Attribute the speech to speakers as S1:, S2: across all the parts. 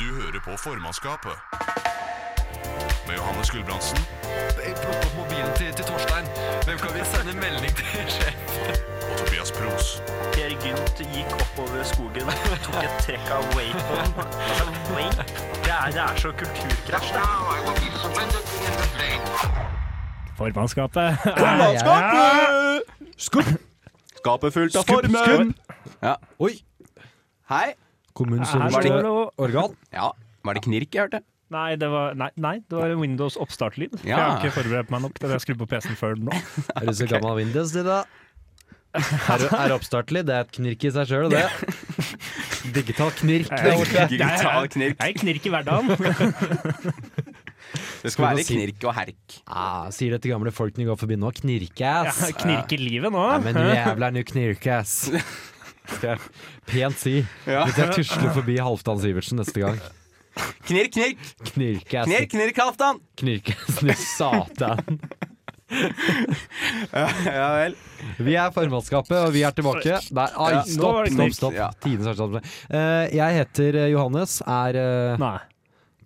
S1: Du hører på formannskapet. Med Johannes Gulbrandsen.
S2: Plukk opp mobilen til, til Torstein. Hvem kan vi sende melding til? sjef?
S1: Og Tobias Pros.
S3: Per Gynt gikk oppover skogen, tok et trekk av wapen. Altså, vape? Det er, det er så kulturkrasj, det.
S4: Formannskapet.
S5: Skapet fullt av
S6: Skubb,
S5: former.
S6: skubb.
S5: Ja.
S6: Oi.
S5: Hei.
S6: Kommunens
S4: Her
S5: var det-
S4: står det noe-
S6: organ.
S5: Ja, var det knirk jeg hørte?
S4: Nei, det var, nei, nei, det var en Windows oppstartlyd. For Jeg
S5: Ja.
S4: har ikke forberedt meg nok til det jeg skrur på PC-en før nå.
S6: Er du så gammel Windows, du, da? Er, er oppstartelig. Det er et knirk i seg sjøl, det. Digital knirk. Det er ordet.
S5: Digital knirk.
S4: Jeg knirker i hverdagen.
S5: Det skal være knirk og herk.
S6: Ah, sier det til gamle folk når de går forbi nå. Knirkass.
S4: Jeg knirker livet nå.
S6: Nei, men du jævla nu knirkass. Skal jeg pent si.
S5: Ja.
S6: Hvis jeg tusler forbi Halvdan Sivertsen neste gang.
S5: Knirk, knirk.
S6: Knirkass.
S5: Knirk, knirk, Halvdan.
S6: Knirkass, nu satan.
S5: Ja vel.
S6: Vi er formannskapet, og vi er tilbake. Nei, ai,
S5: Ja,
S4: nå var
S6: stopp,
S4: det
S6: stopp,
S4: knirk.
S6: stopp.
S5: Ja.
S6: Tidens verste avtale. Eh, jeg heter eh, Johannes, er eh,
S4: Nei.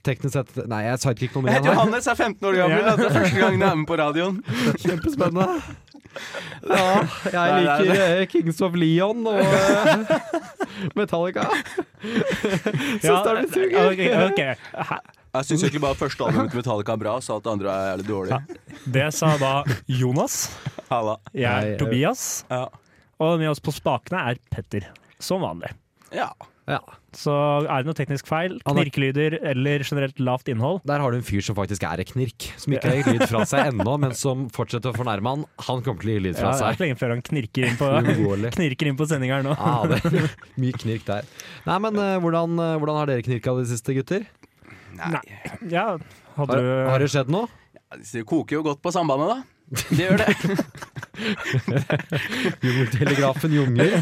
S6: teknisk sett Nei, jeg sa ikke noe
S5: Jeg
S6: mer.
S5: heter Johannes, er 15 år gammel.
S4: Ja.
S5: og Det er første gangen jeg er med på radioen.
S6: Kjempespennende. Ja, jeg
S5: Nei, nei,
S6: liker eh, Kings of Leon og eh, Metallica.
S4: Ja,
S6: Søsteren min suger.
S4: ok, ok.
S5: Jeg syns egentlig bare første albumet til Metallica er bra, så at det andre er jævlig dårlig.
S4: Det sa da Jonas.
S5: Halla.
S4: Jeg
S6: Nei,
S4: er
S6: jeg-
S4: Tobias.
S5: Ja.
S4: Og med oss på spakene er Petter. Som vanlig.
S5: ja.
S6: Ja,
S4: Så er det noe teknisk feil,
S6: Han er-
S4: knirkelyder eller generelt lavt innhold,
S6: der har du en fyr som faktisk er en knirk. Som ikke har gitt lyd fra seg ennå, men som fortsetter å fornærme han. Han kommer til å gi lyd fra
S4: Ja, det er
S6: seg.
S4: ikke lenge før han knirker inn på,
S6: Uunngåelig.
S4: knirker inn på sendinga her nå.
S6: Ja, det er mye knirk der. Nei, men eh, hvordan, eh, hvordan har dere knirka det siste, gutter?
S5: Nei.
S4: Ja, hadde
S6: Har,
S4: du
S6: har det skjedd noe?
S5: Det koker jo godt på sambandet, da. Det gjør det.
S6: Telegrafen jungler.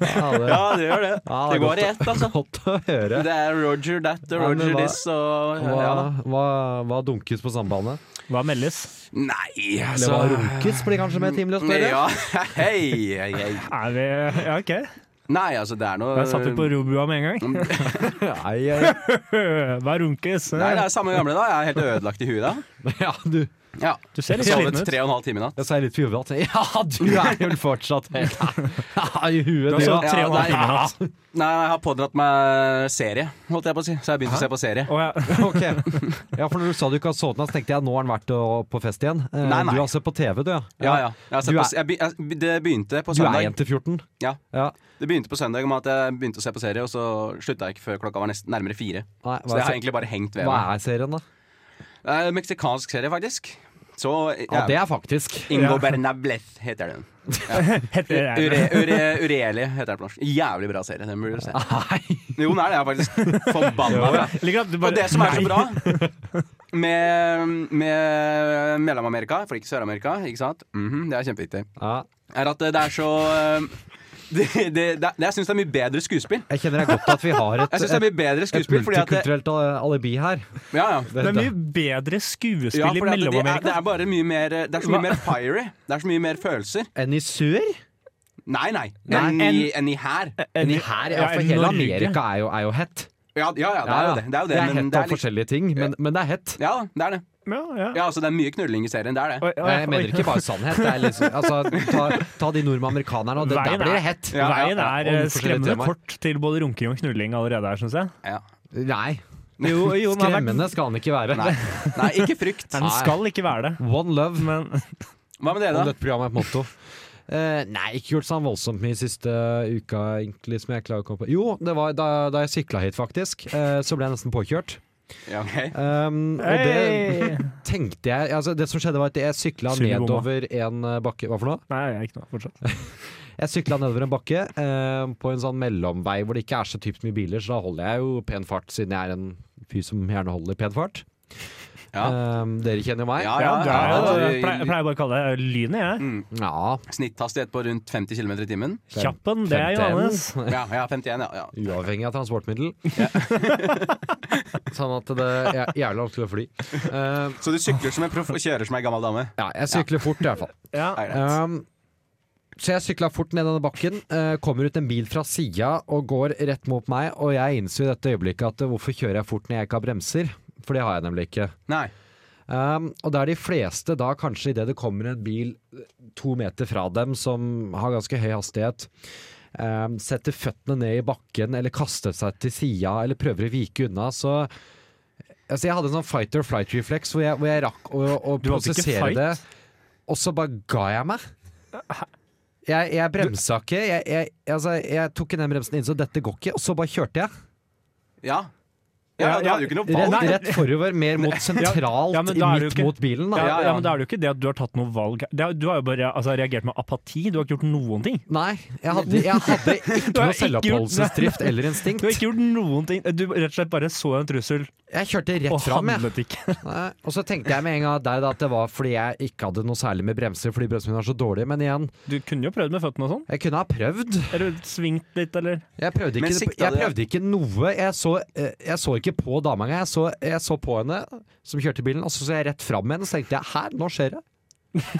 S6: Ja, det,
S5: Ja, det gjør det.
S6: ja,
S5: Det går i
S6: godt,
S5: ett, altså.
S6: Godt å høre.
S5: Det er Roger that og
S6: Ja, men
S5: Roger
S6: hva-
S5: this og ja, da.
S6: Hva, hva, hva dunkes på sambandet?
S4: Hva meldes?
S5: Nei,
S6: Eller
S5: altså
S6: hva runkes, blir kanskje mer timelig å spørre?
S5: Ja, hei, hei, hei.
S4: Er vi Ja, OK.
S5: Nei, altså, det er noe
S4: Jeg satt jo på robua med en gang.
S6: Nei, jeg-
S4: Hva runkes?
S5: Nei, det er samme gamle, da. Jeg er helt ødelagt i huet da.
S6: ja, du.
S5: Ja.
S4: Du ser litt sliten
S5: Sovet
S4: ut.
S5: tre og en halv time i natt.
S6: Jeg sa litt for jovialt. Ja, du er jo fortsatt helt ja, i huet,
S4: Du har
S6: du.
S4: sovet
S6: Ja.
S4: tre og en halv
S5: Ja,
S4: time i natt.
S5: Nei, jeg har pådratt meg serie, holdt jeg på å si. Så jeg har begynt å se på serie.
S4: Å, ja.
S6: Ok. Ja, for når du sa du ikke har sovet natt, så tenkte jeg nå har han vært å- på fest igjen. Eh,
S5: Nei, nei.
S6: Du har sett på TV, du, ja.
S5: Ja, ja. Jeg har sett
S6: Du
S5: på,
S6: er-
S5: jeg, be- jeg, det begynte på
S6: Du er
S5: søndag.
S6: 1 til 14?
S5: Ja.
S6: ja.
S5: Det begynte på søndag med at jeg begynte å se på serie, og så slutta jeg ikke før klokka var nesten nærmere fire.
S6: Nei,
S5: Så
S6: hva,
S5: det har
S6: er,
S5: egentlig bare hengt ved
S6: hva
S5: meg.
S6: er serien, da?
S5: Det er en meksikansk serie, faktisk. Så eh,
S6: Ja, det
S5: ja.
S6: er faktisk.
S5: Ingo
S4: Ja.
S5: Bernableth heter den.
S4: Heter jeg
S5: Ure, ure, Ureli heter den på norsk. Jævlig bra serie. Den burde du se.
S6: Nei.
S5: Jo, den er det. Jeg er faktisk forbanna bra.
S4: Ligger at du bare-
S5: Og det som er så
S4: Nei.
S5: bra med, med Mellom-Amerika, for ikke Sør-Amerika, ikke sant? Mhm, det er kjempeviktig.
S6: Ja,
S5: Er at det er så eh, det, det, det, jeg syns det er mye bedre skuespill.
S6: jeg kenner det er godt at vi har et,
S5: Jeg synes det er
S6: et,
S5: mye bedre
S6: et
S5: skuespill fordi at det,
S6: multikulturelt al- alibi her.
S5: ja, ja.
S4: Det er mye bedre skuespill
S5: Ja,
S4: i
S5: fordi at det, er, det
S4: Mellom-Amerika.
S5: er bare mye mer Det er så mye
S4: Hva?
S5: mer fiery. Det er så mye mer følelser.
S6: Enn i sør?
S5: Nei, nei.
S6: Nei.
S5: Enn i, enn i her.
S6: Enn i her? Ja,
S4: Ja,
S6: for
S4: enn
S6: hele
S4: Norge.
S6: Amerika er jo, er jo hett.
S5: Ja, ja, ja, det er jo det. Det er jo det, men
S6: hett
S5: det
S6: av
S5: er litt,
S6: forskjellige ting, men, men det er hett.
S5: ja, det er det.
S4: Ja, ja.
S5: Ja, altså, det er mye knulling i serien. Det er det.
S4: Oi, oi,
S6: Jeg mener
S4: oi.
S6: ikke bare sannhet. Det er liksom, altså, ta, ta de nordamerikanerne, og det, der
S4: Veien
S6: blir
S4: er-
S6: det hett.
S5: Ja, ja,
S4: Veien er
S6: ja, om
S4: eh,
S6: forskjellige
S4: skremmende
S6: temaer.
S4: kort til både runking og knulling allerede her, syns jeg.
S5: Ja.
S6: Nei.
S4: Jo, jo, den har vært-
S6: Skremmende skal han ikke være.
S5: Nei. nei, ikke frykt.
S4: Nei, den skal ikke være det.
S6: One love,
S4: Men
S5: Hva med dere,
S6: om
S5: da?
S6: dette programmet er et motto. Eh, nei, ikke gjort sånn voldsomt mye siste uka, egentlig, som jeg klarer å komme på. Jo, det var da, da jeg sykla hit, faktisk, eh, så ble jeg nesten påkjørt.
S5: Ja, ok.
S6: Um, og det
S4: Hei!
S6: tenkte jeg altså, Det som skjedde, var at jeg sykla
S4: Sykle bomma.
S6: nedover en eh, bakke Hva for noe?
S4: Nei, jeg er ikke noe fortsatt.
S6: Jeg sykla nedover en bakke eh, på en sånn mellomvei hvor det ikke er så typisk mye biler, så da holder jeg jo pen fart, siden jeg er en fyr som gjerne holder pen fart.
S5: Ja.
S6: Eh, dere kjenner jo meg.
S5: Ja,
S4: Ja,
S5: ja, Altså,
S4: det er, jo-
S5: ja, du-
S4: jeg pleier, jeg pleier bare å kalle det lynet, jeg.
S6: Ja,
S5: Snitthastighet på rundt 50 km i timen.
S4: Kjappen, det er Johannes.
S5: Ja, ja 51, ja. ja.
S6: Uavhengig av transportmiddel. sånn at det er jævlig vanskelig å fly. Eh,
S5: Så du sykler som en proff og kjører som ei gammel dame?
S6: ja, jeg sykler fort i hvert fall.
S4: Ja.
S5: Er det?
S6: Um, Så jeg sykla fort ned denne bakken, eh, kommer ut en bil fra sida og går rett mot meg, og jeg innså i dette øyeblikket at eh, hvorfor kjører jeg fort når jeg ikke har bremser? For det har jeg nemlig ikke.
S5: Nei.
S6: Um, og det er de fleste da kanskje idet det kommer en bil eh, to meter fra dem som har ganske høy hastighet, um, setter føttene ned i bakken eller kaster seg til sida eller prøver å vike unna, så altså Jeg hadde en sånn fight or flight-refleks hvor, jeg- hvor jeg rakk å, å
S4: Du hadde ikke
S6: prosessere
S4: fight?
S6: det, og så bare ga jeg meg. Jeg, jeg bremsa ikke. Jeg, jeg, altså, jeg tok ikke den bremsen inn, så dette går ikke. Og så bare kjørte jeg.
S5: Ja. Ja, Du hadde jo ikke noe valg.
S6: Rett, rett forover, mer mot sentralt,
S4: Ja, men da er det jo
S6: midt
S4: ikke-
S6: mot bilen. Da.
S4: Ja,
S5: ja,
S4: ja,
S5: ja.
S4: men Da er det jo ikke det at du har tatt noe valg. Det er, du har jo bare altså, reagert med apati. Du har ikke gjort noen ting.
S6: Nei, jeg hadde, jeg hadde ikke
S4: Du har ikke
S6: noe
S4: gjort-
S6: selvoppholdelsesdrift eller instinkt.
S4: Du har ikke gjort noen ting. Du rett og slett bare så en trussel
S6: Jeg kjørte rett
S4: og
S6: fram, jeg.
S4: handlet ikke.
S6: Nei, Og så tenkte jeg med en gang der da, at det var fordi jeg ikke hadde noe særlig med bremser, fordi bremsene mine var så dårlige. Men igjen,
S4: Du kunne jo prøvd med føttene og sånn.
S6: jeg kunne ha prøvd.
S4: Eller svingt litt, eller
S6: Jeg prøvde
S5: Men
S6: ikke,
S5: sikta
S6: jeg
S5: du-
S6: prøvde ikke noe. Jeg så, eh, jeg så ikke på dama engang. Jeg, så- jeg så på henne som kjørte bilen, og så så jeg rett fram med henne, og så tenkte jeg her, nå skjer det.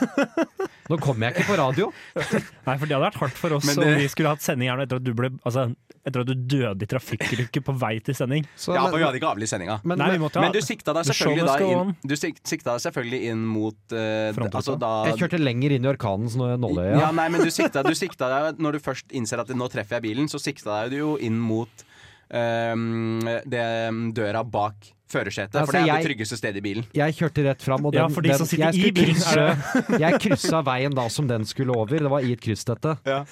S6: Nå kommer jeg ikke på radio.
S4: Nei, for det hadde vært hardt for oss
S5: Men
S4: om
S5: det-
S4: vi skulle hatt sending her nå etter at du ble Altså, etter at du døde i trafikkulykke på vei til sending.
S6: Så,
S5: Ja, for vi
S6: men,
S5: hadde ikke avlyst sendinga.
S6: men,
S4: Nei, vi måtte ha
S5: Men du sikta deg
S4: The show
S5: selvfølgelig da
S4: must go
S5: inn,
S4: on.
S5: du sik- sikta deg selvfølgelig inn mot eh, d-
S4: Frontruta.
S5: Altså da
S6: jeg kjørte lenger inn i orkanens nå- nåløye.
S5: Ja, nei, men du sikta, du sikta deg Når du først innser at nå treffer jeg bilen, så sikta deg du jo inn mot eh, det, døra bak førersetet.
S6: Altså,
S5: for det er
S6: jeg-
S5: det tryggeste stedet i bilen.
S6: Jeg kjørte rett fram, og den,
S4: Ja, for de
S6: den,
S4: som sitter
S6: jeg,
S4: i bilen,
S6: krysse, jeg kryssa veien da som den skulle over. Det var i et kryss, dette.
S4: Ja,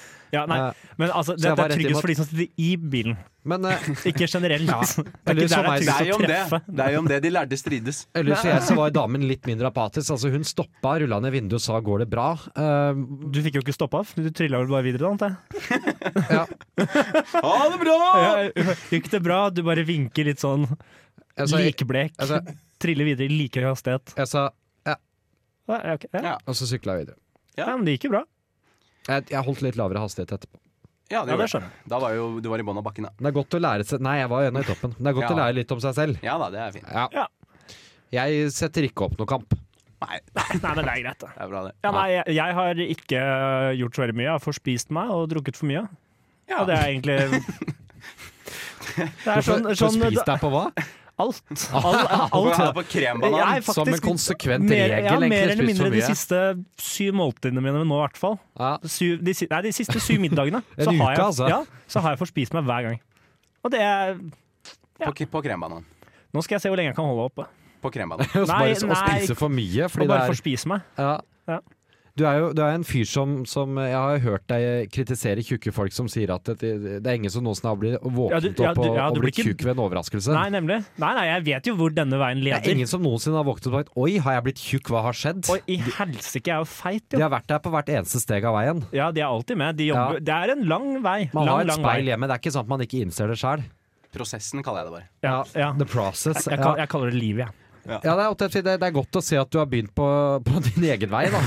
S4: nei,
S6: Ja.
S4: men altså,
S6: jeg
S4: det,
S6: var
S4: er
S6: rett
S4: tryggest
S6: imot.
S4: for de som sitter i bilen,
S6: Men eh,
S4: ikke generelt.
S6: Ja.
S4: Det er
S6: Eller
S4: ikke
S6: som
S4: der det
S6: meg,
S4: er
S5: Det er jo
S4: tryggest å
S5: om det.
S4: treffe.
S5: Det er jo om det de lærde strides.
S6: ellers for jeg så var damen litt mindre apatisk. Altså Hun stoppa, rulla ned vinduet og sa 'går det bra'? Eh,
S4: Du fikk jo ikke stoppa, du trilla vel bare videre, da, antar jeg.
S6: ja,
S5: Ha det bra!
S4: Ja, Gikk det bra? Du bare vinker litt sånn
S6: altså, jeg,
S4: likblek.
S6: altså-
S4: Triller videre i like høy hastighet.
S6: jeg sa
S4: Ja, ja, ok, ja.
S5: Ja.
S6: Og så sykla jeg videre.
S4: ja, men det gikk jo bra.
S6: Jeg, jeg holdt litt lavere hastighet etterpå.
S5: Ja,
S4: Ja,
S5: det
S4: det
S5: gjorde jeg.
S4: skjønner jeg.
S5: Da var jo du var i bånn av bakken, da.
S6: Men det er godt å lære seg Nei, jeg var ennå i toppen. Men Det er godt
S5: Ja.
S6: å lære litt om seg selv.
S5: Ja da, det er fint.
S6: Ja.
S4: Ja.
S6: Jeg setter ikke opp noe kamp.
S5: Nei, det
S4: Nei, men det er greit, da.
S5: er bra, det.
S4: Ja, nei, jeg, jeg har ikke eh, gjort så veldig mye. Jeg har forspist meg og drukket for mye.
S5: Ja.
S4: Og det er egentlig Det er sånn,
S6: Hvorfor
S4: sånn
S6: spist deg på hva?
S4: alt. Alt.
S5: Hvorfor er
S4: alt.
S5: det på krembanan?
S4: Jeg er faktisk
S6: Som en konsekvent
S4: mer,
S6: regel,
S4: ja,
S6: egentlig.
S4: mer eller
S6: spist
S4: mindre
S6: for
S4: de
S6: mye.
S4: siste syv måltidene mine nå, i hvert fall.
S6: Ja.
S4: Syv, de, si- nei, de siste syv middagene.
S6: En
S4: så har
S6: uke,
S4: jeg,
S6: altså.
S4: Ja, så har jeg forspist meg hver gang. Og det er
S5: På, k- på krembanan.
S4: Nå skal jeg se hvor lenge jeg kan holde oppe.
S5: På krembanan.
S6: Og så
S4: Nei,
S6: bare så- å
S4: nei.
S6: spise for mye. Fordi
S4: Og
S6: det
S4: bare
S6: er
S4: forspise meg.
S6: Ja.
S4: Ja.
S6: Du er jo du er en fyr som, som eh, Jeg har hørt deg kritisere tjukke folk som sier at det, det er ingen som noensinne har blitt
S4: Ja,
S6: våknet
S4: du- ja,
S6: opp og,
S4: du- ja,
S6: og
S4: du
S6: blitt
S4: blir ikke-
S6: tjukk ved en overraskelse.
S4: Nei, nemlig. Nei, nei, jeg vet jo hvor denne veien
S6: det er
S4: leder.
S6: ingen som noensinne har våknet opp og sagt 'oi, har jeg blitt tjukk, hva har skjedd?'
S4: Og i helsike, jeg er jo feit,
S6: De
S4: jo.
S6: har vært der på hvert eneste steg av veien.
S4: Ja, de er alltid med. De jobber.
S6: Ja.
S4: Det er en lang vei.
S6: Man
S4: lang,
S6: har et
S4: lang
S6: speil
S4: vei.
S6: hjemme, det er ikke sånn at man ikke innser det sjøl.
S5: Prosessen kaller jeg det bare.
S4: Ja, ja.
S6: The process.
S4: Jeg,
S6: ja.
S4: kal- jeg kaller det livet, jeg.
S6: Ja, det, er, opp til å si, det, det er godt å se at du har begynt på, på din egen vei, da.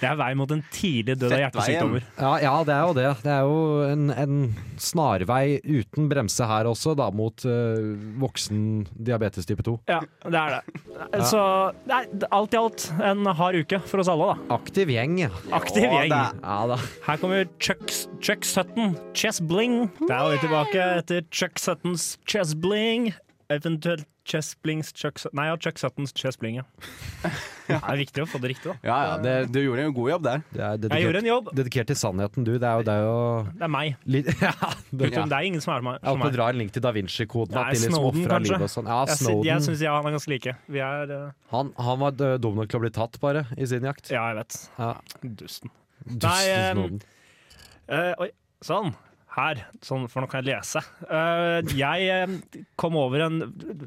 S4: Det er vei mot en tidlig død av
S5: Fettveien.
S4: hjertesykdommer.
S6: Ja, ja, det er jo det. Det er jo en, en snarvei uten bremse her også, da, mot eh, voksen diabetes type 2.
S4: Ja, det er det. Så nei, alt i alt en hard uke for oss alle, da.
S6: Aktiv gjeng. ja.
S4: Aktiv
S5: Ja,
S4: gjeng.
S5: det
S6: Ja da.
S4: Her kommer Chuck, Chuck Sutton, Chess Bling. Der var vi tilbake etter Chuck Suttons Chess Bling. Eventuelt Chess Blings Chuck Sutton Nei, ja, Chuck Suttons Chess Bling, ja. Det er viktig å få det riktig, da.
S5: Ja ja, det, du gjorde en god jobb der.
S6: Det er
S4: Jeg gjorde
S6: dedikert,
S4: en jobb.
S6: dedikert til sannheten, du. Det er jo, det er jo
S4: Det er meg.
S6: litt, ja, det,
S4: Utom, Det er ingen som er meg.
S6: Jeg holdt
S4: Som
S6: på å
S4: meg.
S6: dra en link til Da Vinci-koden.
S4: Nei,
S6: at de liksom
S4: Snowden,
S6: ofra
S4: kanskje.
S6: livet og sånn. Ja,
S4: Jeg, sy- jeg
S6: Snowden.
S4: syns ja, han er ganske like. Vi er eh,
S6: Han, han var dø- dum nok til å bli tatt, bare, i sin jakt.
S4: Ja, jeg vet.
S6: Ja.
S4: Dusten.
S6: Dusten
S4: eh,
S6: Snowden.
S4: Eh, oi, sånn. Her. Sånn, for nå kan jeg lese. Eh, jeg eh, kom over en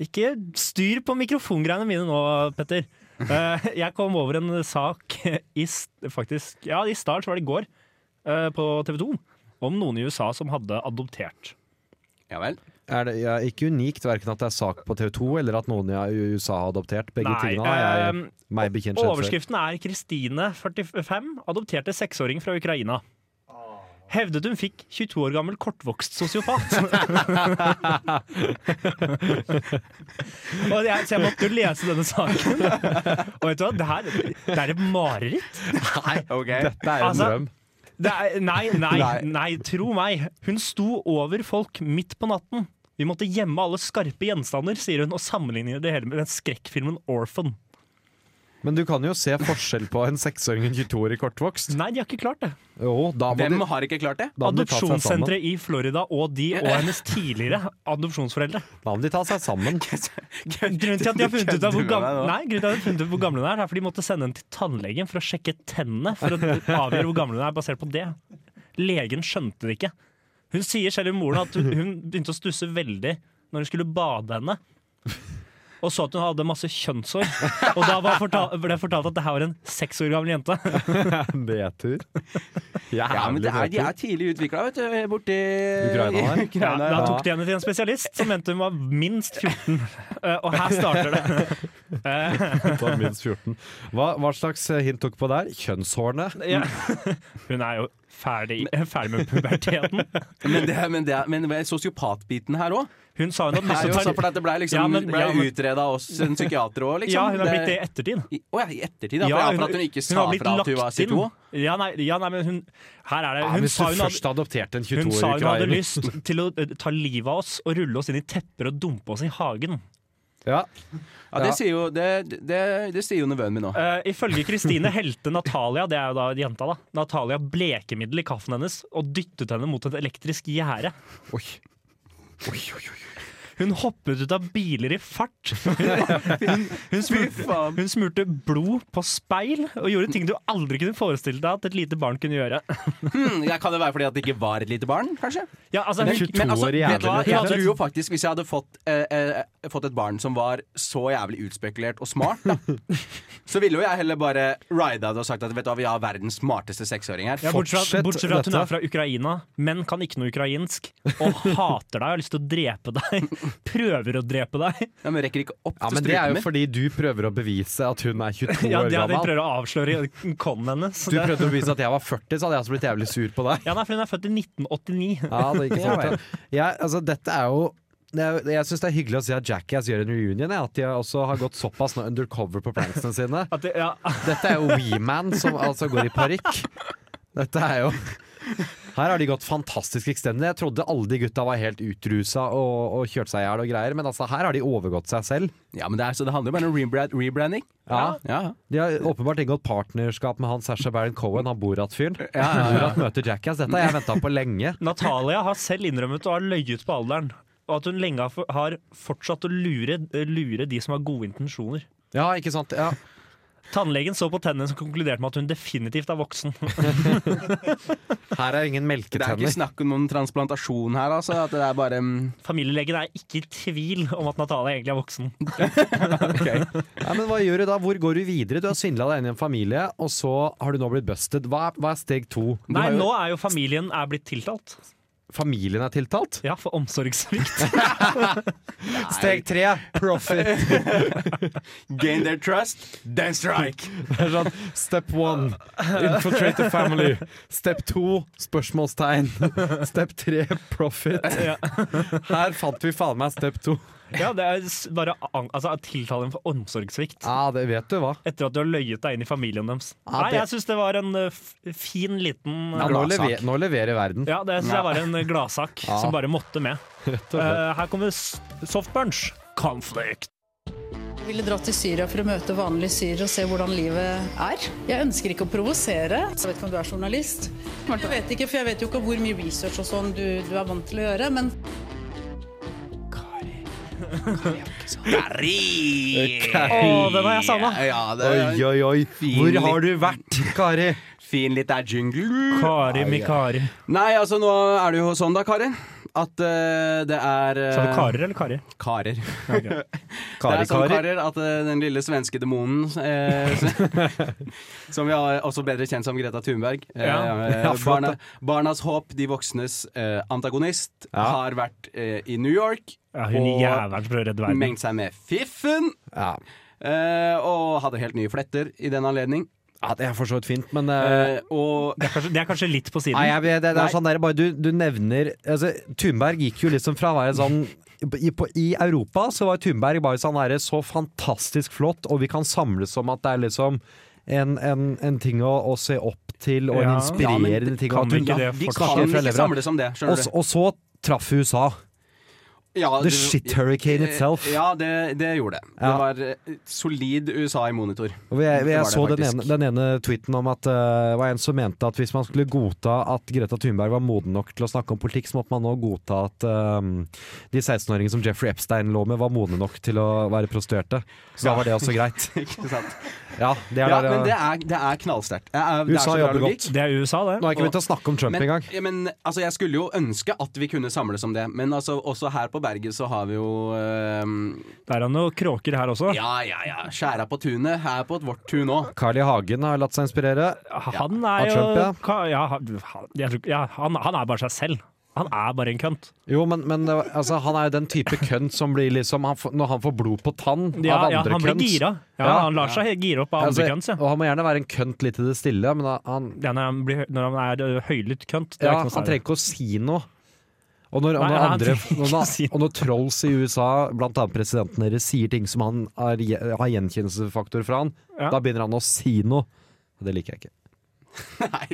S4: Ikke styr på mikrofongreiene mine nå, Petter. Eh, jeg kom over en sak i s- faktisk, ja, i start, så var det i går, eh, på TV 2, om noen i USA som hadde adoptert.
S5: Ja vel.
S6: Er det ja, ikke unikt verken at det er sak på TV 2, eller at noen i USA har adoptert. Begge
S4: Nei,
S6: tingene har jeg
S4: eh,
S6: meg bekjent skjedd før.
S4: Overskriften er 'Kristine, 45, adopterte seksåring fra Ukraina'. Hevdet hun fikk 22 år gammel kortvokst sosiopat. og jeg, så jeg måtte jo lese denne saken. Og vet du hva, det her det er et mareritt.
S5: Ok.
S6: Dette er en
S4: Altså,
S6: drøm.
S4: Det er, nei, nei,
S5: Nei.
S4: nei, tro meg. Hun sto over folk midt på natten. Vi måtte gjemme alle skarpe gjenstander, sier hun, og sammenligner det hele med den skrekkfilmen Orphan.
S6: Men du kan jo se forskjell på en seksåring og en 22-årig kortvokst.
S4: Nei, de har ikke klart det.
S6: Jo, da må
S5: Hvem
S6: de,
S5: har ikke klart det?
S6: da må de ta seg sammen.
S4: Adopsjonssenteret i Florida og de og hennes tidligere adopsjonsforeldre.
S6: Da må de ta seg sammen.
S4: Grunnen til at de har funnet ut av hvor
S5: Kødder du med
S4: gamle,
S5: meg nå?
S4: nei, grunnen til at de har funnet ut hvor gamle hun er, er fordi de måtte sende henne til tannlegen for å sjekke tennene for å avgjøre hvor gammel hun er, basert på det. Legen skjønte det ikke. Hun sier selv i moren at hun begynte å stusse veldig når hun skulle bade henne. Og så at hun hadde masse kjønnshår. Og da var fortalt, ble det fortalt at det her var en seks år gammel jente.
S6: B-tur.
S5: Ja, men det er, De er tidlig utvikla, vet du. Borti
S6: Ukraina der.
S4: Ja,
S5: Ukraina,
S4: da
S5: ja.
S4: tok de henne til en spesialist som mente hun var minst 14. Eh, Og her starter det.
S6: Da minst 14. Hva, hva slags eh, hint tok på der? Kjønnshårene?
S4: Ja. Hun er jo ferdig, ferdig med puberteten.
S5: Men, det, men, det, men sosiopatbiten her òg?
S4: Hun sa hun hadde lyst til å
S5: Så for
S4: ta
S5: at det ble, liksom,
S4: Ja, men-
S5: ble
S4: ja, men-
S5: utreda hos en psykiater òg, liksom?
S4: Ja, hun er blitt det i ettertid.
S5: I, å ja, i ettertid, da. for, ja, for at hun ikke sa
S4: har blitt
S5: fra at hun var
S4: lagt inn.
S5: C2.
S4: Ja, nei, ja, nei men hun Her er det.
S6: Ja,
S4: Hun
S6: hvis du
S4: sa hun
S6: først
S4: hadde,
S6: adopterte en
S4: hun sa
S6: 22-årig
S4: hun hadde
S6: ukrainer
S4: lyst til å eh, ta livet av oss og rulle oss inn i tepper og dumpe oss i hagen.
S6: ja.
S5: Ja, det sier jo, det, det, det sier jo nevøen min nå.
S4: Eh, ifølge Kristine helte Natalia det er jo da jenta da Natalia blekemiddel i kaffen hennes og dyttet henne mot et elektrisk gjerde.
S6: Oi.
S4: Hun hoppet ut av biler i fart. Hun, hun, smurte, hun smurte blod på speil og gjorde ting du aldri kunne forestille deg at et lite barn kunne gjøre.
S5: Hmm, ja, kan det være fordi at det ikke var et lite barn, kanskje?
S4: Ja, altså,
S5: Men,
S4: hun,
S5: men altså,
S6: 22 år i
S5: vet du hva?
S6: jævlig,
S5: Jeg
S4: rett og
S5: tror
S4: slett.
S5: jo faktisk, hvis jeg hadde fått, eh, eh, fått et barn som var så jævlig utspekulert og smart, da, så ville jo jeg heller bare rida det og sagt at vet du hva, vi har verdens smarteste seksåring her.
S4: ja, bortsett, fra, bortsett
S6: Fortsett
S4: fra at hun
S6: dette.
S4: er fra Ukraina, men kan ikke noe ukrainsk. Og hater deg og har lyst til å drepe deg. Prøver å drepe deg.
S5: Ja, men rekker ikke opp
S6: ja,
S5: til
S6: men det er
S5: strupen
S6: jo
S5: min.
S6: fordi du prøver å bevise at hun er 22
S4: Ja, det er
S6: år
S4: det de
S6: gammel.
S4: prøver å avsløre i konen hennes.
S6: Du prøvde å bevise at jeg var 40, så hadde jeg også blitt jævlig sur på deg.
S4: Ja, nei, for hun er født i 1989.
S6: Ja, det gikk fort, da. jeg, altså, dette er jo det er, jeg syns det er hyggelig å se at Jackass gjør en reunion. jeg, At de også har gått såpass nå undercover på pranksene sine.
S4: At det, ja,
S6: Dette er jo WeMan som altså går i parykk. Dette er jo Her har de gått fantastisk ekstendig. Jeg trodde alle de gutta var helt utrusa og, og kjørte seg i hjel og greier, men altså, her har de overgått seg selv.
S5: Ja, men det, er, så det handler jo bare om rebrand, rebranding.
S6: Ja.
S5: Ja.
S6: De har åpenbart inngått partnerskap med han Sasha Baron Cohen, han Borat-fyren. Borat møter Jackass. Dette har jeg venta på lenge.
S4: Natalia har selv innrømmet å ha løyet på alderen. Og at hun lenge har for- har fortsatt å lure, lure de som har gode intensjoner.
S6: Ja, ikke sant? Ja.
S4: Tannlegen så på tennene som konkluderte med at hun definitivt er voksen.
S6: Her er ingen
S5: Det er ikke
S6: melketenner.
S5: snakk om noen transplantasjon her, altså. At det er bare mm,
S4: Familielegen er ikke i tvil om at Natalia egentlig er voksen.
S5: ok.
S6: Ja, men hva gjør du da? Hvor går du videre? Du har svindla deg inn i en familie, og så har du nå blitt busted. Hva, er- hva er steg to? Du
S4: Nei,
S6: har jo,
S4: nå er jo familien er blitt tiltalt.
S6: familien er tiltalt?
S4: Ja, for omsorgssvikt.
S6: Steg tre profit.
S5: Gain their trust, then strike.
S6: Det er sånn, step one, infiltrate the family. Step to, spørsmålstegn. Step tre, profit.
S4: Ja.
S6: Her fant vi faen meg step to.
S4: Ja, det er s- bare an altså, tiltalen for omsorgssvikt.
S6: Ja, det vet du hva.
S4: Etter at du har løyet deg inn i familien deres.
S6: Ja,
S4: Nei,
S6: det-
S4: jeg syns det var en uh, f- fin liten
S6: Ja, nå, lever, nå leverer verden.
S4: Ja, det synes jeg var en eh, gladsak
S6: Ja.
S4: som bare måtte med. Eh, her kommer s- Softbunch. Conflict.
S7: Jeg ville dra til Syria for å møte vanlige syrere og se hvordan livet er. Jeg ønsker ikke å provosere. Jeg vet ikke om du er journalist. Jeg vet ikke, for jeg vet jo ikke hvor mye research og sånn du, du er vant til å gjøre, men
S4: Å, den har jeg savna.
S5: Ja, det er
S6: Oi, oi, oi. Hvor har du vært, Kari?
S5: en fin litt der jingle.
S4: Kari Mikari.
S5: Nei, altså nå er det jo sånn da, karer. At eh, det er eh,
S4: Sa du karer eller kari?
S5: karer. det
S6: Kari,
S5: er sånn,
S6: Kari.
S5: karer, at eh, den lille svenske demonen, eh, s- som vi har også bedre kjent som Greta Thunberg eh,
S4: Ja.
S5: eh,
S6: Ja, flott,
S5: barna, Barnas håp, de voksnes eh, antagonist,
S6: Ja.
S5: har vært eh, i New York
S4: Ja, hun
S5: Og-
S4: jævelen som prøver å redde verden.
S5: mengt seg med fiffen
S6: Ja.
S5: eh, og hadde helt nye fletter i den anledning.
S6: Ja, det er for så vidt fint, men eh,
S5: og
S4: Det er kanskje, det er kanskje litt på siden.
S6: Nei, jeg, vet- det, det
S4: Nei.
S6: er sånn der, bare du, du nevner altså, Thunberg gikk jo liksom fra å være sånn i, på, I Europa så var Thunberg bare sånn her, så fantastisk flott, og vi kan samles om at det er liksom en, en, en ting å, å se opp til,
S4: Ja.
S6: og en
S5: Ja, men
S6: inspirerende ting.
S4: kan
S6: og at
S4: vi
S6: hun-
S4: ikke det
S5: de
S4: fortsatt?
S6: Snakker
S5: kan
S6: fra
S5: ikke
S6: levra.
S5: samles om det,
S6: og,
S5: skjønner
S6: s-
S5: du.
S6: og så traff USA.
S5: Ja,
S6: The
S5: du- Eh,
S6: shit hurricane itself.
S5: Ja, det, det gjorde det.
S6: Ja.
S5: Det var eh, solid USA i monitor.
S6: Og jeg,
S5: Det var
S6: jeg
S5: det
S6: så den
S5: faktisk.
S6: ene, den ene tweeten om at eh, det var en som mente at hvis man skulle godta at Greta Thunberg var moden nok til å snakke om politikk, så måtte man nå godta at eh, de 16-åringene som Jeffrey Epstein lå med, var modne nok til å være prostituerte. Så da var det også greit.
S5: Ikke sant?
S6: Ja, det er
S5: Ja,
S6: der,
S5: men det er, det er knallsterkt. Det er- det er
S6: USA
S5: så bra
S6: jobber
S5: logikk.
S4: Det er USA,
S6: Nå
S4: det.
S6: har jeg ikke begynt å snakke om Trump
S5: Men,
S6: engang.
S5: ja, men altså, jeg skulle jo ønske at vi kunne samles om det, men altså, også her på berget så har vi jo ehm,
S4: Det er noen kråker her også.
S5: Ja, ja, ja. Skjæra på tunet. Her på vårt tun òg.
S6: Carl I. Hagen har latt seg inspirere.
S4: Han
S6: Av
S4: er jo
S6: Trump, ja.
S4: ka- ja, han- jeg tror- ja, han, han er bare seg selv. Han er bare en kønt.
S6: Jo, men, men det var- altså, han er jo den type kønt som blir liksom han får, Når han får blod på tann
S4: Ja,
S6: av
S4: ja,
S6: andre
S4: han blir
S6: kønt
S4: gira. Ja,
S6: Ja.
S4: han lar seg gire opp av
S6: altså,
S4: andre kønts. Ja.
S6: Og han må gjerne være en kønt litt i det stille, men han,
S4: Ja, når, han blir, når han er ø, høylytt kønt. Det er ikke
S6: Ja, han
S4: noe særlig.
S6: trenger ikke å si noe. Og når, og
S4: Nei,
S6: når,
S4: han
S6: andre,
S4: trenger ikke
S6: og
S4: å si
S6: når,
S4: noe.
S6: og når trolls i USA, blant annet presidenten deres, sier ting som han er, har gjenkjennelsesfaktor fra han,
S4: Ja.
S6: da begynner han å si noe. Og det liker jeg ikke.
S5: Nei.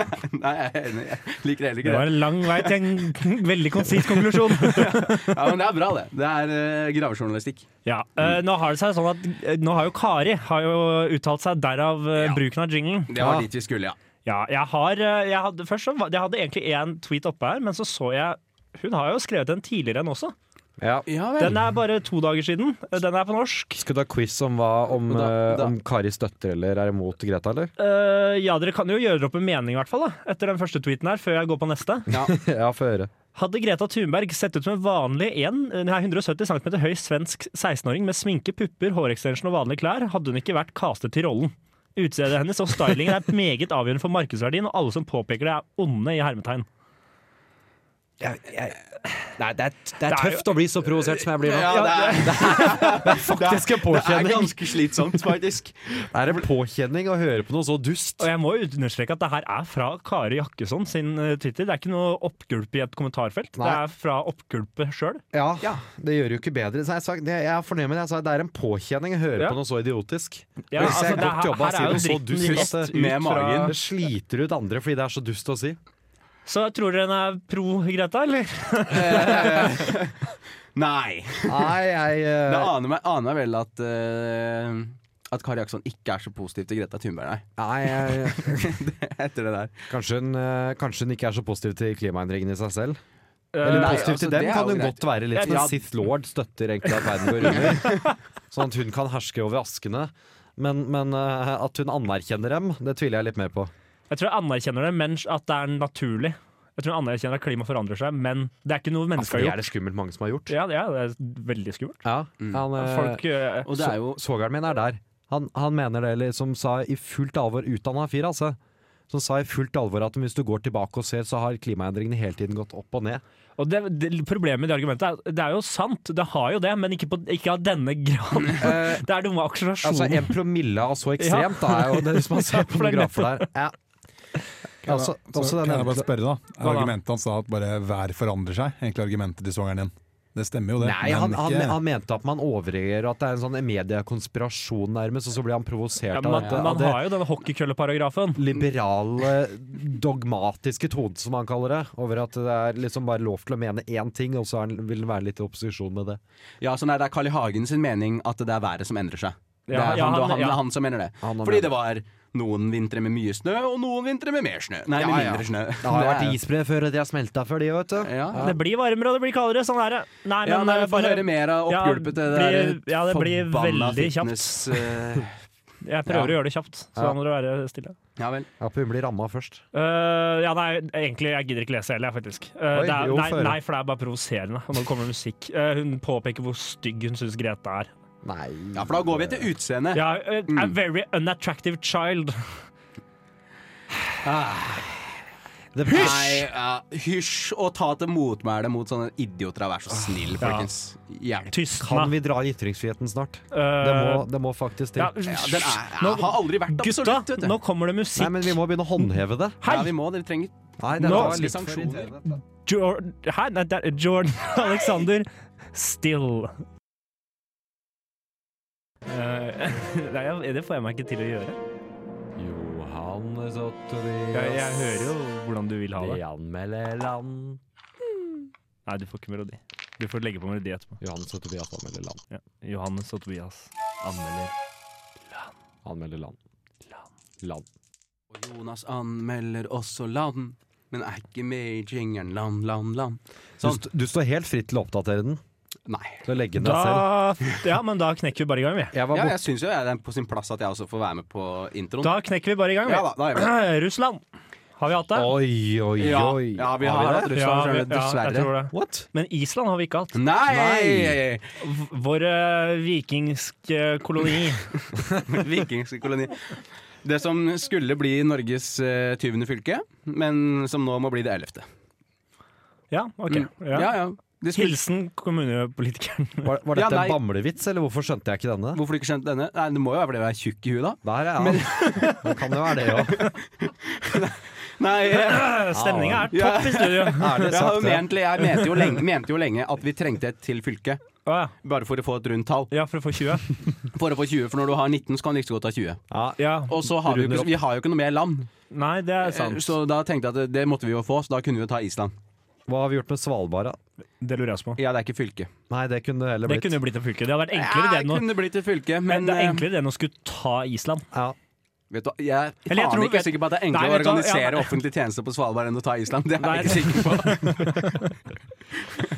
S5: Nei, nei, jeg er enig. Jeg liker heller
S4: Det
S5: ikke
S4: var
S5: det.
S4: en lang vei til en veldig konsis konklusjon.
S5: Ja, men det er bra, det. Det er eh, gravejournalistikk.
S4: Ja, eh, nå har det seg sånn at eh, Nå har jo Kari har jo uttalt seg, derav eh, bruken av jinglen.
S5: Det var dit vi skulle, ja.
S4: Ja, jeg har eh, jeg hadde, Først så var- jeg hadde egentlig én tweet oppe her, men så så jeg Hun har jo skrevet en tidligere enn også.
S6: Ja.
S5: Ja vel.
S4: Den er bare to dager siden. Eh, Den er på norsk.
S6: Skal du ha quiz om, hva, om,
S5: Da-
S6: eh,
S5: da-
S6: om Kari støtter eller er imot Greta, eller?
S4: Eh, ja, dere kan jo gjøre opp en mening, i hvert fall, da, etter den første tweeten her, før jeg går på neste.
S6: ja, få høre.
S4: Hadde Greta Thunberg sett ut som en vanlig en, eh, nei, 170 cm høy svensk 16-åring med sminke, pupper, hårextension og vanlige klær, hadde hun ikke vært castet til rollen. Utseendet hennes og stylingen er meget avgjørende for markedsverdien, og alle som påpeker det, er onde i hermetegn.
S6: Nei, det er, det er
S4: er
S6: tøft å bli så provosert som jeg blir nå.
S5: Ja, det er, det er,
S6: Faktisk en
S5: det er
S6: påkjenning.
S5: ganske slitsomt, faktisk.
S6: Det er en påkjenning å høre på noe så dust.
S4: Og jeg må jo understreke at det her er fra Kari Jakkesson sin eh, Twitter. Det er ikke noe oppgulp i et kommentarfelt.
S6: Nei.
S4: Det er fra oppgulpet sjøl.
S6: Ja, det gjør jo ikke bedre. Så jeg, sa, det, jeg er fornøyd med det. Jeg sa, det er en påkjenning å høre
S4: Ja.
S6: på noe så idiotisk.
S4: Ja,
S6: Hvis jeg
S4: altså, det
S6: godt
S4: her-
S6: jobba,
S4: her er
S6: sier
S4: jo dritten
S6: du så dust
S4: rett
S6: at
S4: ut
S5: med
S4: fra-
S5: magen.
S6: Det sliter ut andre fordi det er så dust å si.
S4: Så tror dere den er pro Greta, eller?
S5: Nei.
S6: Nei, jeg eh,
S5: Det aner meg, aner meg vel at eh, at Kari Jaksson ikke er så positiv til Greta Thunberg, nei.
S6: nei jeg,
S5: Etter det der.
S6: kanskje, hun, eh, kanskje hun ikke er så positiv til klimaendringene i seg selv.
S4: Eh,
S6: Eller
S5: nei,
S6: positiv
S5: altså,
S6: til
S5: det
S6: dem
S5: er
S6: kan
S5: jo
S6: hun
S5: greit.
S6: godt være litt.
S5: Ja.
S6: Men Sith Lord støtter egentlig at verden går under. Sånn at hun kan herske over askene. Men, men eh, at hun anerkjenner dem, det tviler jeg litt mer på.
S4: Jeg tror jeg anerkjenner det, men at det er naturlig. Jeg tror jeg anerkjenner at klimaet forandrer seg, men det er ikke noe mennesker
S6: For det
S4: har
S6: er
S4: gjort.
S6: det skummelt mange som har gjort.
S4: Ja, det er, det er veldig skummelt.
S6: Ja, han, eh,
S4: Folk, eh,
S5: Og det er jo
S6: Så- Svogeren min er der. Han, han mener det liksom sa i fullt alvor, utdanna fyr altså, som sa i fullt alvor at hvis du går tilbake og ser, så har klimaendringene hele tiden gått opp og ned.
S4: og det, det, problemet med det argumentet er at det er jo sant, det har jo det, men ikke, på, ikke av denne graden. det er noe med
S6: Eh. Altså
S4: akselerasjonen.
S6: en promille av så ekstremt, da er jo det hvis man ser på
S4: for det
S6: noen
S4: er
S6: grafer der. Ja. Altså,
S8: Så
S6: også den
S8: kan jeg bare spørre, da.
S4: Hva da?
S8: Argumentet han sa at bare vær forandrer seg, egentlig argumentet til svogeren din. Det stemmer jo det.
S6: Nei, han, han, han mente at man overreagerer, og at det er en sånn mediekonspirasjon nærmest, og så blir han provosert
S4: Ja,
S6: av
S4: men man,
S6: dette.
S4: man
S6: av det
S4: har jo denne hockeykølleparagrafen.
S6: liberale, dogmatiske tonen, som han kaller det. Over at det er liksom bare lov til å mene én ting, og så er, den- vil han være litt i opposisjon med det.
S5: Ja, så nei, det er Carl I. Hagen sin mening at det er været som endrer seg. det
S4: Ja,
S5: er,
S4: ja,
S5: han, det var
S4: han-
S5: han, det
S4: ja.
S5: er han som mener det.
S6: Han har
S5: Fordi
S6: ment
S5: det var noen vintre med mye snø, og noen vintre med mer snø. Nei,
S6: Ja,
S5: med
S6: ja. Eh.
S5: mindre snø.
S6: Det har vært
S5: er-
S6: isbre før, og de har smelta før, de vet du.
S5: Ja,
S4: Det blir varmere og det blir kaldere, sånn er det. Nei,
S5: ja nei,
S4: eh,
S5: vi får høre mer av
S4: Ja,
S5: oppgulpet det
S4: blir-
S5: der
S4: ja, det blir
S5: forbanna
S4: veldig kjapt.
S5: fitness, eh,
S4: Jeg prøver å
S5: Ja.
S4: gjøre det kjapt, så
S6: Ja.
S4: da må dere være stille.
S5: ja vel.
S6: Ja, hun blir ramma først.
S4: Eh, ja, nei, egentlig, jeg gidder ikke lese heller, jeg, faktisk. Eh,
S6: Oi,
S4: det er,
S6: jo,
S4: nei,
S6: få høre.
S4: nei, for det er bare provoserende når det kommer musikk. Eh, hun påpeker hvor stygg hun syns Greta er.
S6: Nei
S5: Ja, for da går vi etter utseendet.
S4: Ja, eh,
S5: Mm.
S4: a very unattractive child.
S5: Nei, ja, hysj og ta til motmæle mot sånne idioter. Vær
S4: Ah,
S5: så snill, folkens. Hjelp.
S6: Kan
S4: Tystna.
S6: vi dra ytringsfriheten snart? Det må,
S4: Uh,
S6: det må faktisk
S4: ja,
S6: til.
S5: Ja, den er, ja,
S4: Nå-
S5: har aldri vært absolutt,
S4: Gutta,
S5: vet du.
S4: nå kommer det
S6: Nei,
S4: musikk.
S6: men vi må begynne å håndheve det.
S5: Ja, vi må, dere trenger
S6: Nei, det
S4: Nå-
S6: var
S5: Ganske
S6: litt for
S5: sanksjoner.
S6: irriterende.
S4: Jordan, her, nei, der, Jordan Alexander Still. Eh, nei, jeg- det får jeg meg ikke til å gjøre.
S6: Johannes og
S4: Jeg, jeg
S6: Tobias,
S4: hører jo hvordan du vil ha
S6: de
S4: det.
S6: anmelder land.
S4: Nei, du får ikke melodi. Du får legge på melodi etterpå.
S6: Johannes og Tobias anmelder land.
S4: Ja. Johannes og Tobias anmelder.
S6: Anmelder land. Land.
S5: Og Jonas anmelder også land, men er ikke med i jingeren land, land, land.
S6: Du,
S5: Sånn.
S6: st du står helt fritt til å oppdatere den.
S5: Nei.
S6: Til å legge den deg selv.
S4: Da, ja, men da knekker vi bare i gang, vi.
S6: Jeg var
S5: Ja,
S6: borte
S5: jeg syns jo det er på sin plass at jeg også får være med på introen.
S4: Da knekker vi bare i gang, vi.
S5: Ja da, da gjør
S4: Russland. Har vi hatt det?
S6: Oi, oi,
S5: Ja,
S6: oi.
S5: ja, vi har hatt Russland,
S4: Ja, vi-
S5: skjønner du,
S4: ja, jeg
S5: dessverre.
S4: tror det.
S6: What?
S4: Men Island har vi ikke hatt.
S5: Nei!
S4: V- Vår eh, vikingske koloni.
S5: Vikingske koloni. Det som skulle bli Norges eh, 20. fylke, men som nå må bli det 11.
S4: Ja, OK.
S5: Mm.
S4: Ja.
S5: Ja, ja. De skulle-
S4: Hilsen kommunepolitikeren.
S6: Var, var
S5: Ja,
S6: dette
S5: nei.
S6: en bamlevits, eller hvorfor skjønte jeg ikke denne?
S5: Hvorfor du ikke skjønte denne? Nei, Det må jo være fordi du er tjukk i huet, da.
S6: Der er han. Det kan jo være det òg.
S5: Nei, eh,
S4: Stemninga er
S5: Ja.
S4: topp i studio.
S6: Ærlig
S5: jeg, har jo
S6: sagt. det.
S5: ment, jeg mente, jo lenge, mente jo lenge at vi trengte et til fylke,
S4: Å ja.
S5: bare for å få et rundt tall.
S4: ja, for å få 20.
S5: For å få 20, for når du har 19, så kan du ikke så godt ha 20.
S6: Ja,
S4: Ja.
S5: Og så har vi, jo
S6: Runder
S5: ikke,
S6: opp.
S5: vi har jo ikke noe mer land.
S4: Nei, det er sant.
S5: Eh, Så da tenkte jeg at det, det måtte vi jo få, så da kunne vi jo ta Island.
S6: hva har vi gjort med Svalbard, da?
S4: Det lurer jeg også på.
S5: Ja, det er ikke fylke.
S6: Nei, det kunne det heller
S4: Det
S6: blitt.
S4: kunne jo blitt en fylke. Det hadde vært enklere det
S5: Ja,
S4: enn å-
S5: kunne blitt et fylke, men
S4: det er
S5: eh,
S4: enklere det enn å skulle ta Island.
S6: Ja.
S5: Vet du, hva, jeg er
S4: Eller jeg
S5: faen
S4: tror-
S5: ikke sikker på at det er enklere
S4: Nei,
S5: å
S4: vet du hva, ja,
S5: organisere
S4: nei.
S5: offentlige tjenester på Svalbard enn å ta Island. Det er
S4: Nei,
S5: jeg ikke sikker på.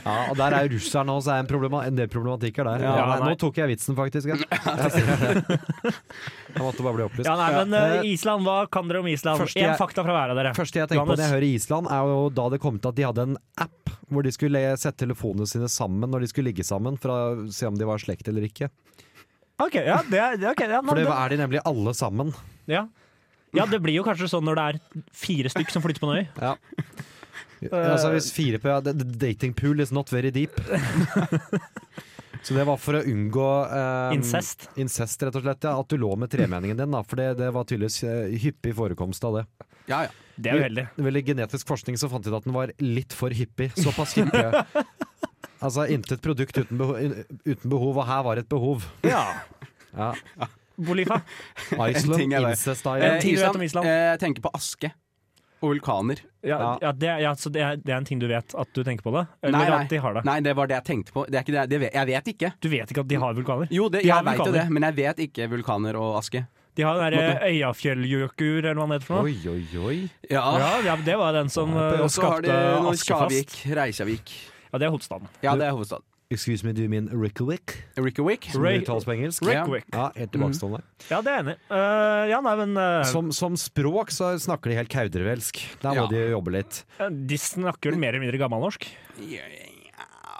S6: ja, og der er jo russerne også, er en, problema en del problematikker der.
S4: Ja,
S6: Ja, nei,
S4: nei.
S6: Nå tok jeg vitsen, faktisk. Jeg, jeg, ser det. jeg måtte bare bli opplyst.
S4: Ja, nei, men eh, Island, hva kan dere om Island?
S6: Første
S4: Én
S6: jeg-
S4: fakta fra hver av dere.
S6: første jeg tenker på
S4: Johannes.
S6: når jeg hører Island, er jo da det kom til at de hadde en app hvor de skulle sette telefonene sine sammen når de skulle ligge sammen, for å se om de var i slekt eller ikke.
S4: Ok, ja, det er, det- ok, ja, men
S6: For det
S4: det-
S6: er de nemlig alle sammen.
S4: ja. ja, det blir jo kanskje sånn når det er fire stykk som flytter på en øy.
S6: Ja.
S4: Eh.
S6: altså hvis fire på ja, the- The dating pool is not very deep. Så det var for å unngå eh,
S4: Incest.
S6: incest, rett og slett. Ja, at du lå med tremenningen din, da. For det, det var tydeligvis eh, hyppig forekomst av det.
S5: Ja, ja.
S4: Det er uheldig.
S6: Vel, I genetisk forskning så fant de ut at den var litt for hyppig. Såpass hyppig. Altså intet produkt uten behov, uten behov, og her var et behov.
S4: Ja.
S6: Ja.
S4: Bolifa.
S6: Iceland,
S5: ting er det.
S6: incest
S5: Eh,
S6: island.
S4: ting du vet om Island?
S5: eh, jeg tenker på aske og vulkaner.
S4: Ja,
S6: Ja.
S4: ja, det, er- ja, så det, er, det er en ting du vet at du tenker på det? Eller
S5: Nei, nei.
S4: at de har det?
S5: Nei, det var det jeg tenkte på. Det er ikke det, det vet, jeg vet ikke.
S4: Du vet ikke at de har vulkaner?
S5: Jo, det,
S4: De har
S5: jeg veit jo
S4: vulkaner.
S5: det, men jeg vet ikke vulkaner og aske.
S4: De har den derre Øyafjelljokur, eller hva det heter for noe.
S6: Oi, oi, oi.
S5: Ja,
S4: Ja, ja, det var den som eh,
S5: Og så har de
S4: skapte
S5: noe
S4: Askefast.
S5: Kjavik, Reisjavik.
S4: Ja, det er hovedstaden.
S5: Ja, det er hovedstaden.
S6: Excuse me, do you mean Ricklewick?
S5: Rickerwick.
S6: Som
S4: Ray-
S6: det uttales på engelsk.
S5: Rick-
S4: Reykjavik. Mm.
S6: Ja, helt tilbakestående.
S4: Ja, det er jeg enig. i. Eh, ja, nei, men eh,
S6: Som, som språk så snakker de helt kaudrevelsk. Der må
S5: Ja.
S6: de jobbe litt.
S4: eh, de snakker vel mer eller mindre gammelnorsk?
S5: Ja, De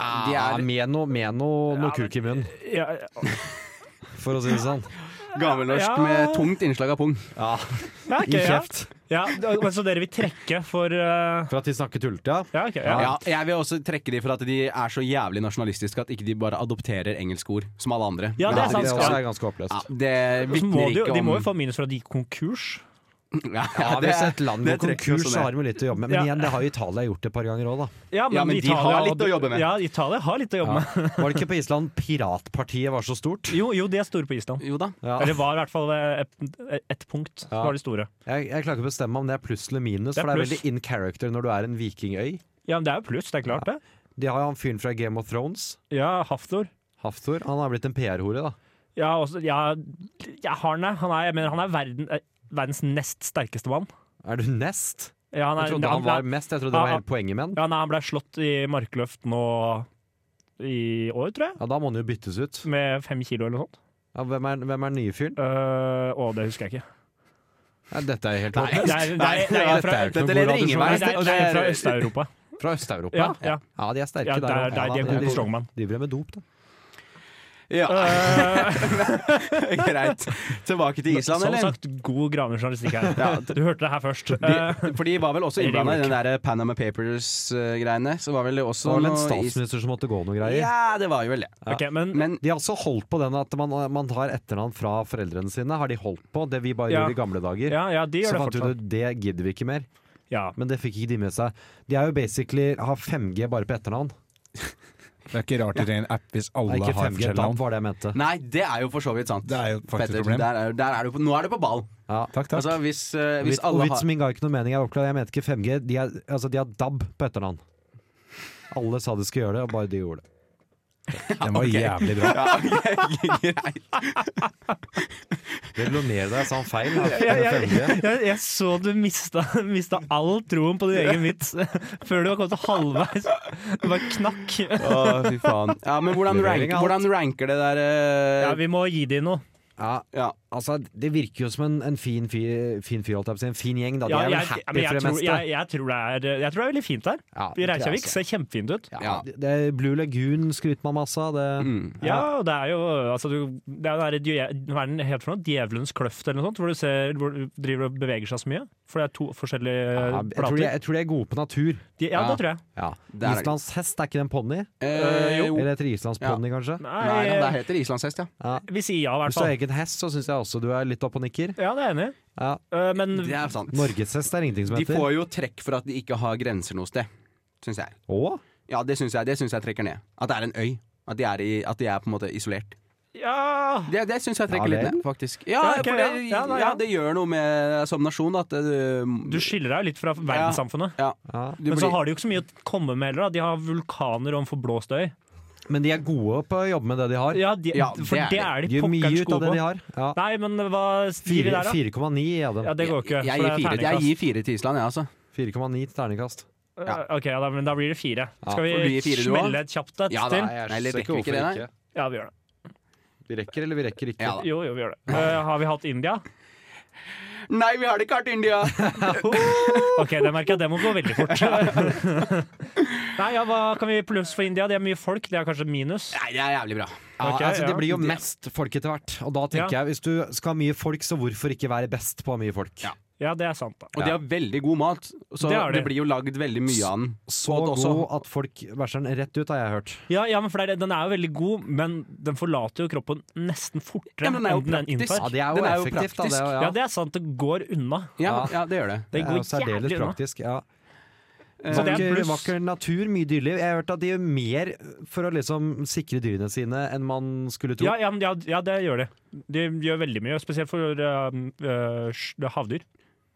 S4: Ah,
S6: Ja,
S5: er
S6: med noe med noe, noe
S4: Ja, men-
S6: kuk i munnen,
S4: Ja, eh,
S6: for å si det sånn.
S5: gammelnorsk
S4: Ja.
S5: med tungt innslag av pung.
S6: Ja,
S4: ja, ok,
S6: I
S4: ja.
S6: kjeft.
S4: ja. d- men Så dere vil trekke for eh,
S6: For at de snakker tullete, ja.
S4: Ja, ok. Ja.
S5: Ja, jeg vil også trekke de for at de er så jævlig nasjonalistiske at ikke de bare adopterer engelske ord som alle andre.
S4: Ja, det er
S6: Ja,
S4: sant.
S6: det
S4: ja.
S6: også er ganske
S5: Ja,
S6: håpløst.
S5: det
S4: Så må
S5: vitner
S4: de, jo,
S5: ikke om
S4: de må jo få minus for at de gikk konkurs.
S5: Ja,
S6: Ja,
S5: det-
S6: hvis et land
S5: det
S6: går
S5: trekker
S6: konkurs,
S5: også
S6: så
S5: ned.
S6: har de jo litt å jobbe med.
S4: Ja.
S6: Men igjen, det har jo Italia gjort et par ganger òg, da.
S5: Ja, men de har litt å jobbe med.
S4: Ja, Italia har litt å jobbe
S6: Ja.
S4: med.
S6: Var det ikke på Island piratpartiet var så stort?
S4: Jo, jo, de er store på Island.
S5: Jo da.
S6: Ja.
S4: Eller var i hvert fall eh, ett et punkt. Så
S6: Ja.
S4: var de store.
S6: Jeg, jeg klarer ikke å bestemme om det er pluss eller minus,
S4: Det er
S6: for det er
S4: pluss.
S6: veldig in character når du er en vikingøy.
S4: Ja, men det er jo pluss, det er klart det.
S6: De har jo han fyren fra Game of Thrones,
S4: Ja, Hafthor.
S6: Hafthor. Han har blitt en PR-hore, da.
S4: Ja, også, ja, ja han er, han er, jeg mener, han er verden, eh, verdens nest sterkeste mann.
S6: Er du nest?
S4: Ja, han,
S6: Jeg
S4: er,
S6: trodde han var mest, jeg trodde
S4: Ja,
S6: det var hele poenget med den.
S4: ja, nei, han ble slått i markløft nå i år, tror jeg.
S6: Ja, da må han jo byttes ut.
S4: Med fem kilo eller noe sånt.
S6: Ja, hvem er, hvem er den nye fyren?
S4: Eh, å, det husker jeg ikke.
S6: Ja, dette er helt håpløst.
S4: Det er, det er, det er fra,
S6: Dette er jo ikke noe
S5: Dette
S6: god
S5: leder
S6: radio-
S5: ingen vei.
S4: nei, det er, det er fra Øst-Europa.
S6: Fra Øst-Europa?
S4: Ja, ja.
S6: de er sterke
S4: Ja, der,
S6: der
S4: der,
S6: også.
S4: de er
S6: Ja, da,
S4: gode på strongman.
S6: Driver med dop, da.
S5: Ja. Greit. Tilbake til Island,
S4: Som
S5: eller?
S4: sagt, god gravejournalistikk her. Du hørte det her først. Eh,
S5: De, for de var vel også
S4: Eller
S5: innblanda i
S4: York.
S5: den der Panama Papers-greiene. Så var vel det også
S6: Så var det vel en
S5: noe is-
S6: statsminister som måtte gå noen greier.
S5: Ja, det var jo vel det.
S4: ok, men,
S5: Men
S6: De har altså holdt på den at man, man tar etternavn fra foreldrene sine. Har de holdt på? Det vi bare
S4: Ja.
S6: gjorde i gamle dager.
S4: ja, ja, de gjør
S6: Så
S4: det
S6: fant vi ut
S4: fortsatt.
S6: at det gidder vi ikke mer.
S4: Ja.
S6: Men det fikk ikke de med seg. De er jo basically har 5G bare på etternavn.
S8: Det er ikke rart de trenger en app hvis alle
S6: Nei, ikke
S8: har
S6: 5G,
S8: forskjellige
S6: DAB
S8: navn.
S6: var det jeg mente.
S5: nei, det er jo for så vidt sant.
S8: Det er jo faktisk
S5: Petter,
S8: et problem.
S5: der er, jo- der er du på, nå er du på ball.
S6: Ja.
S8: Takk, takk.
S5: Altså, hvis, eh, hvis
S6: Hvis
S5: alle har
S6: vitsen min ga ikke noe mening. Jeg, oppklarer, jeg mente ikke 5G. De, er, altså, de har DAB på etternavn. Alle sa de skulle gjøre det, og bare de gjorde det.
S8: Den var jævlig bra.
S5: ja, ok, Greit.
S6: Det lå ned da jeg sa feil.
S4: Jeg, jeg, jeg, jeg så du mista, mista all troen på din egen vits før du var kommet til halvveis. Det var knakk.
S5: Å, fy faen. Ja, men hvordan, rank, hvordan ranker det der eh,
S4: Ja, vi må gi de noe.
S6: Ja,
S5: ja.
S6: altså, det virker jo som en, en fin fyr, fin fyr, holdt jeg på å si. En fin gjeng, da. De
S4: Ja,
S6: er vel
S4: jeg,
S6: happy
S4: men jeg,
S6: for det
S4: tror,
S6: meste.
S4: jeg, jeg, tror det er, jeg tror det er veldig fint her.
S6: Ja,
S4: I
S6: det tror jeg
S4: Reykjavik
S6: også.
S4: ser kjempefint ut.
S6: Ja,
S5: Ja.
S6: Det, det Blue Lagoon skryter man masse av. Det,
S4: Ja, og det er jo altså, du, Det er jo den derre dje- hva er den het for noe? Djevelens kløft eller noe sånt? Hvor du, ser, hvor du driver og beveger seg så mye? For det er to forskjellige
S6: ja,
S4: eh,
S6: jeg, tror
S4: plater.
S6: de, jeg tror de er gode på natur.
S4: De- ja,
S5: Ja.
S4: det tror jeg.
S6: Ja.
S5: Det er det.
S6: Islands hest, er ikke det en ponni?
S5: Eh, jo.
S6: Eller heter det islandsponni, kanskje?
S4: Nei, eh,
S5: Nei, ja, det heter islandshest, ja.
S4: vi sier ja, i hvert
S6: Hvis du har
S4: fall.
S6: egen hest, så syns jeg også du er litt opp og nikker.
S4: Ja, det er jeg enig i.
S6: Ja.
S4: Eh, Men
S5: Det er sant.
S6: Norgeshest er ingenting som
S5: De
S6: heter.
S5: får jo trekk for at de ikke har grenser noe sted, syns jeg.
S6: Å?
S5: Ja, det syns jeg, det synes jeg trekker ned. At det er en øy. At de er, i, at de er på en måte isolert.
S4: ja
S5: Det, det syns jeg trekker
S6: Ja,
S5: litt
S6: vel.
S5: ned, faktisk. Ja,
S4: Ja, ok,
S5: for det,
S4: ja. Ja,
S5: ja,
S4: nei, ja.
S5: det gjør noe med deg som nasjon at du,
S4: Du skiller deg jo litt fra verdenssamfunnet.
S5: ja,
S6: Ja.
S5: du
S4: Men
S5: blir,
S4: så har de jo ikke så mye å komme med heller. da. De har vulkaner og en forblåst øy.
S6: Men de er gode på å jobbe med det de har.
S4: Ja, de,
S5: Ja,
S4: for
S5: det er
S4: det er
S6: De
S4: de
S6: gjør mye
S4: pokkerens
S6: ut av
S4: gode
S6: det de
S4: på.
S6: har. Ja.
S4: Nei, men hva sier vi
S6: Fire-
S4: der, da?
S6: 4,9 er den.
S4: Ja, det går ikke. for
S5: jeg, jeg,
S4: det
S5: gir
S4: er
S5: fire, jeg
S4: terningkast.
S5: gir fire til Island, jeg, altså.
S6: 4,9 til terningkast.
S5: Ja.
S4: Eh, Ok, ja, da, men da blir det fire. Skal
S5: for
S4: vi
S5: du gir fire, du også?
S4: smelle et kjapt et
S5: Ja, da.
S4: til?
S5: Nei, jeg Eller ser ikke rekker vi ikke hvorfor det,
S4: Ja, vi gjør det.
S6: Vi rekker eller vi rekker ikke.
S5: Ja, da.
S4: Jo, jo, vi gjør det. Eh, har vi hatt India?
S5: Nei, vi har det ikke vært India!
S4: Ok, det merker jeg. Det må gå veldig fort. Nei, ja, hva kan vi pluss for India? Det er mye folk, det er kanskje minus.
S5: Nei, det er jævlig bra.
S6: Ja,
S4: Ok,
S6: altså,
S4: ja.
S6: Det blir jo mest folk etter hvert. Og da tenker
S4: Ja.
S6: jeg, hvis du skal ha mye folk, så hvorfor ikke være best på å ha mye folk?
S5: Ja.
S4: Ja, det er sant, da.
S5: Og de har veldig god mat, så
S4: Det
S5: det,
S4: har de.
S5: blir jo lagd veldig mye av den.
S6: Så
S5: Og også-
S6: god at folk bæsjer den rett ut, har jeg hørt.
S4: Ja, ja men for det er, Den er jo veldig god, men den forlater jo kroppen nesten fortere
S5: Ja, men den er jo
S4: enn den
S6: Ja,
S5: praktisk.
S4: inntar.
S6: det er jo
S5: Den er jo
S6: effektivt, da.
S5: praktisk.
S6: Det er, jo-
S4: Ja, det er sant. Det går unna.
S5: Ja,
S6: Ja.
S5: ja, det gjør det. Eh,
S4: Det
S6: Det er jo
S4: går
S6: særdeles
S4: jævlig unna.
S6: praktisk. Ja.
S4: Så det er
S6: Vakker,
S4: pluss.
S6: vakker natur, mye dyreliv. Jeg har hørt at de gjør mer for å liksom sikre dyrene sine enn man skulle tro.
S4: Ja, ja, men ja, ja, det gjør de. De gjør veldig mye, spesielt for eh, eh, sj- havdyr.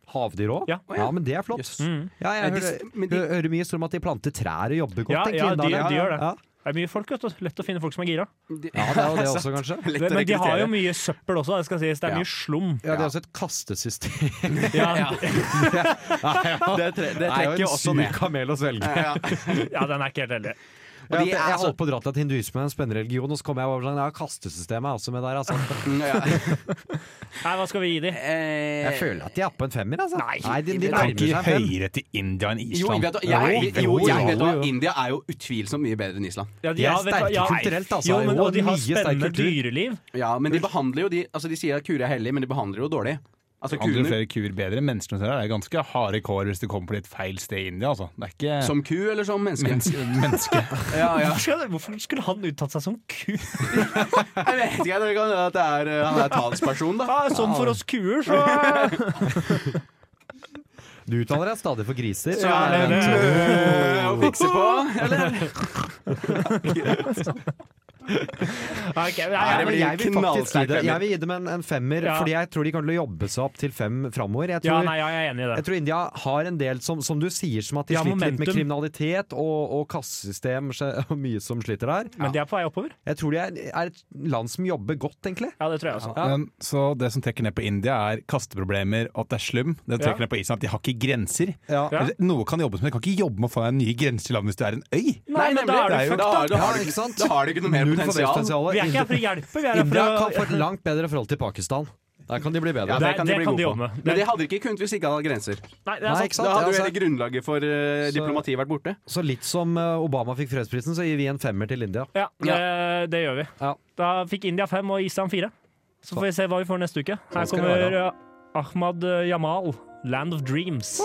S6: Havdyr òg?
S4: Ja.
S6: men det er flott.
S5: Jøss.
S4: Mm.
S6: Ja, jeg
S5: Eh, de-
S6: hører,
S5: men de-
S6: hø- hører mye historier om at de planter trær og jobber godt.
S4: Ja,
S6: tenker
S4: ja,
S6: jeg, da.
S4: de- de gjør det.
S6: Ja.
S4: Det er mye folk, vet du. Lett å finne folk som er gira.
S6: ja, det er jo det også, kanskje.
S5: Lett å
S4: Men de har jo
S5: rekruttere.
S4: mye søppel også, det skal sies. Det er
S5: Ja.
S4: mye slum.
S6: Ja, det er også et kastesystem.
S4: Ja,
S6: Det, tre, det
S5: trekker jo også ned.
S6: kamel å svelge.
S5: Ja, ja.
S4: ja den er ikke helt heldig.
S6: Og
S5: de
S6: de, jeg
S5: er
S6: altså-
S5: så-
S6: holdt på å dra til at hinduisme er en spennende religion, og så kom jeg over sånn, ja, kastesystemet er også med der, altså.
S5: Ja, ja.
S4: Nei, hva skal vi gi de?
S5: Eh,
S6: Jeg føler at de er på en femmer, altså.
S4: Nei,
S6: de,
S4: det
S6: de
S4: er
S8: Kan
S6: nærmer
S8: ikke
S6: seg en fem.
S8: høyere til India enn
S5: Jo,
S8: Island.
S5: jeg vet, jeg,
S6: Jo,
S5: jo, jeg
S6: jo,
S5: vet hva,
S6: jo.
S5: India er jo utvilsomt mye bedre enn Island.
S4: Ja,
S6: De er sterke kulturelt, altså.
S4: Jo, men,
S6: Jo,
S4: og de har
S6: mye sterk
S4: spennende
S6: kultur.
S4: dyreliv.
S5: Ja, men de behandler jo de Altså, de sier at kuer er hellig, men de behandler jo dårlig. Altså,
S8: Andre
S5: kuene
S8: flere kuer bedre. Menneskene deres er ganske harde kår hvis de kommer på litt feil sted i India. Altså. Det er ikke
S5: som ku eller som menneske?
S8: menneske. menneske.
S5: Ja, ja.
S4: Hvorfor skal- Hvorfor skulle han uttalt seg som ku?
S5: Jeg vet ikke, det kan være at det er, eh, han er talsperson, da.
S4: Ja, sånn for oss kuer, så
S6: Du uttaler deg stadig for griser.
S5: Så er det
S4: det-
S5: eh, å fikse på, eller?
S4: Nei, ok, nei,
S6: Ja,
S5: Nei, det
S6: men
S5: blir
S6: jeg vil faktisk gi
S5: knallsterk
S6: det,
S5: femmer.
S6: jeg vil gi dem en, en femmer,
S4: Ja.
S6: fordi jeg tror de kommer til å jobbe seg opp til fem framover. Jeg
S4: Ja,
S6: tror,
S4: nei, ja, jeg er enig i det.
S6: jeg tror India har en del som, som du sier, som at de
S4: Ja,
S6: sliter litt
S4: momentum.
S6: med kriminalitet og, og kassesystem skje- og mye som sliter der.
S4: Men de er på vei oppover.
S6: Jeg tror de er, er et land som jobber godt, egentlig.
S4: Ja, det tror jeg også.
S6: Ja.
S8: Men, så det som trekker ned på India, er kasteproblemer og at det er slum. Det trekker ned på Island at de har ikke grenser.
S6: Ja.
S4: Ja.
S8: Eller, Noe kan jobbes med. Du kan ikke jobbe med å få deg nye grenser i landet hvis du er en øy.
S4: Nei, men da er
S5: det
S4: du
S5: jo-
S4: fucked,
S5: da har, da
S4: da.
S5: har du ikke sant? Da har du ikke noe mer
S6: Null
S5: potensial.
S6: forbedringspotensial.
S4: Vi er ikke her for å hjelpe, vi er her
S6: India
S4: for
S6: kan
S4: å
S6: få et langt bedre forhold til Pakistan. Der kan de bli bedre.
S5: Ja,
S4: Det,
S5: det kan de
S4: det
S5: bli
S4: kan de
S5: gode
S4: jobbe
S5: på.
S4: med.
S5: Men
S4: Det-
S5: det hadde de ikke kunnet hvis de ikke hadde grenser.
S4: Nei, det er
S6: Nei,
S4: sant.
S6: ikke sant?
S5: Da hadde jo
S6: Ja,
S5: hele grunnlaget for eh, diplomatiet vært borte.
S6: så, så litt som eh, Obama fikk fredsprisen, så gir vi en femmer til India.
S4: Ja, det, det gjør vi.
S6: Ja.
S4: Da fikk India fem og Island fire. Så får vi se hva vi får neste uke. Her
S6: skal det
S4: kommer eh, Ahmad eh, Jamal, 'Land of Dreams'.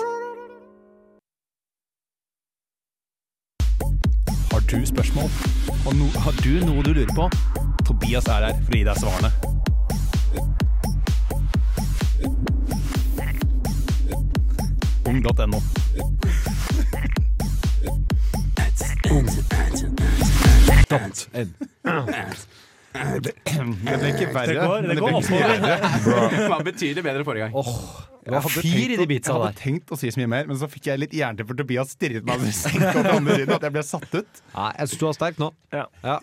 S8: Har du spørsmål? Og no, har du noe du lurer på? Tobias er her for å gi deg svarene. Ung.no. Det ble ikke verre.
S4: Det går, det går oppover.
S5: Det var betydelig bedre forrige gang.
S6: Åh, det var fyr i de bitsa
S8: jeg hadde
S6: der.
S8: tenkt å si så mye mer, men så fikk jeg litt jernteppe for Tobias stirret meg over senka på andre siden, at jeg ble satt ut.
S6: Nei, jeg syns du var sterk nå.
S4: Ja.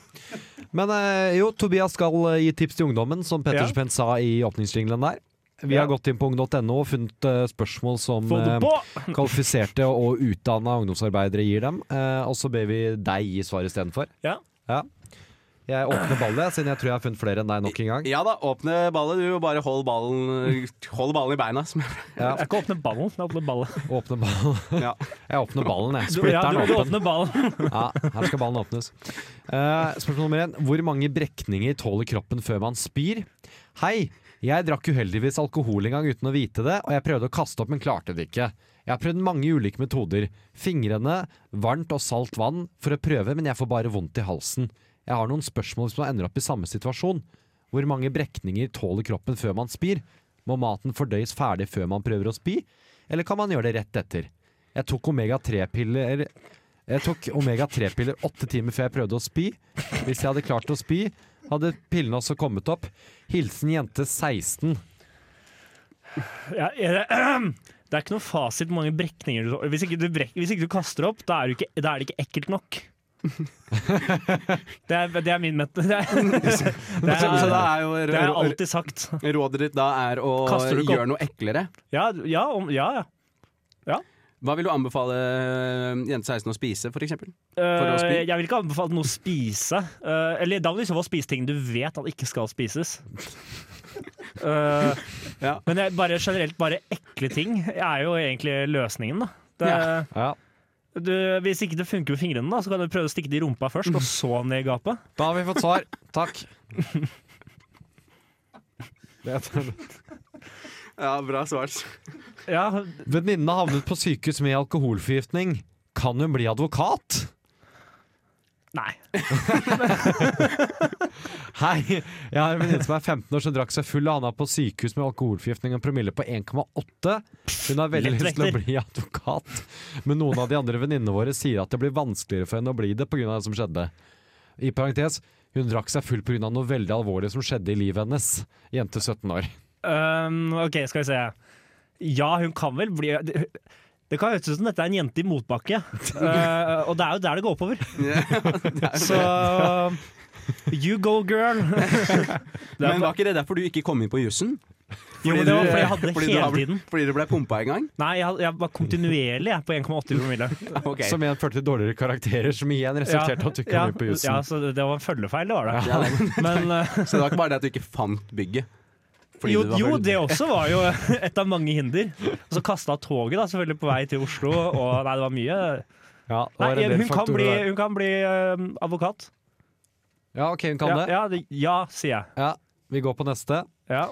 S6: Men eh, jo, Tobias skal eh, gi tips til ungdommen, som Petter
S4: Ja.
S6: Spenn sa i åpningsjinglen der. Vi
S4: Ja.
S6: har gått inn på ung.no og funnet eh, spørsmål som
S4: Få det
S6: eh,
S4: på!
S6: kvalifiserte og utdanna ungdomsarbeidere gir dem. eh, og så ber vi deg gi svar istedenfor.
S4: Ja.
S6: Ja. Jeg åpner ballet, jeg, siden jeg tror jeg har funnet flere enn deg nok en gang.
S5: Ja da, åpne ballet, du, og bare hold ballen, hold ballen i beina. som jeg-
S6: Ja,
S4: Jeg skal åpne ballen. Jeg åpner ballen.
S6: åpne ballen.
S5: Ja.
S6: Jeg åpner ballen, jeg.
S4: Du, ja,
S6: Splitter
S4: du,
S6: den
S4: du
S6: åpen.
S4: åpner ballen.
S6: Ja, her skal ballen åpnes. Eh, spørsmål nummer én. Hvor mange brekninger tåler kroppen før man spyr? Hei, jeg drakk uheldigvis alkohol en gang uten å vite det, og jeg prøvde å kaste opp, men klarte det ikke. Jeg har prøvd mange ulike metoder. Fingrene, varmt og salt vann for å prøve, men jeg får bare vondt i halsen. Jeg har noen spørsmål hvis man ender opp i samme situasjon. Hvor mange brekninger tåler kroppen før man spyr? Må maten fordøyes ferdig før man prøver å spy, eller kan man gjøre det rett etter? Jeg tok omega-3-piller jeg tok omega-3-piller åtte timer før jeg prøvde å spy. Hvis jeg hadde klart å spy, hadde pillene også kommet opp. Hilsen jente 16.
S4: Ja, er det, det er ikke noe fasit hvor mange brekninger du tåler. Hvis ikke du, brek, hvis ikke du kaster opp, da er, du ikke, da er det ikke ekkelt nok. Det er, det er min ment... Det er, det
S5: Så, så da
S4: er,
S5: er jo
S4: det er
S5: r-
S4: alltid sagt.
S5: r- rådet ditt da er å
S4: Kaster du ikke opp?
S5: gjøre noe eklere.
S4: Ja, ja, om, ja. ja.
S5: Hva vil du anbefale eh, jente 16 å spise, for eksempel? å spy?
S4: Eh, jeg vil ikke anbefale noe å spise. Eh, eller da vil du i så fall spise ting du vet at ikke skal spises. Eh,
S5: Ja.
S4: Men jeg, bare generelt bare ekle ting er jo egentlig løsningen, da. Det,
S5: Ja.
S6: Ja.
S4: du, hvis ikke det funker med fingrene, da, så kan du prøve å stikke det i rumpa først,
S5: Mm.
S4: og så ned i gapet.
S6: Da har vi fått svar. Takk. Venninnene
S5: Ja, bra svar.
S4: Ja,
S6: havnet på sykehus med alkoholforgiftning. Kan hun bli advokat?
S4: nei.
S6: Hei, jeg har en venninne som er 15 år som drakk seg full og havna på sykehus med alkoholforgiftning og promille på 1,8. Hun har veldig
S4: Lett
S6: lyst til å
S4: vekter.
S6: bli advokat, men noen av de andre venninnene våre sier at det blir vanskeligere for henne å bli det pga. det som skjedde. I parentes, hun drakk seg full pga. noe veldig alvorlig som skjedde i livet hennes. Jente 17 år.
S4: Um, OK, skal vi se. Ja, hun kan vel bli Det kan høres ut som dette er en jente i motbakke, Eh, og det er jo der det går oppover. Så You go, girl! Det er
S5: Men var ikke det derfor du ikke kom inn på jussen?
S4: Jo, men det var fordi jeg hadde det
S5: Fordi du
S4: hele
S5: har bl-
S4: tiden.
S5: Fordi du ble pumpa en gang?
S4: Nei, jeg, jeg var kontinuerlig jeg, på 1,80 promille.
S5: Ok.
S6: Som igjen førte til dårligere karakterer, som igjen resulterte i at du ikke kom inn på
S4: Ja,
S6: jussen.
S4: så det, det var en følgefeil, det var det.
S5: Ja, det-
S4: Men eh,
S5: Så det var ikke bare det at du ikke fant bygget? Fordi
S4: jo,
S5: du var
S4: jo,
S5: full?
S4: det også var jo et av mange hinder. Og så kasta toget, da, selvfølgelig, på vei til Oslo, og nei, det var mye.
S6: Ja, det
S4: Nei,
S6: var en del
S4: hun kan
S6: faktorer
S4: bli,
S6: der.
S4: hun kan bli eh, advokat.
S6: Ja, OK, hun kan
S4: Ja,
S6: det.
S4: ja, det- ja, sier jeg.
S6: Ja, vi går på neste.
S4: Ja.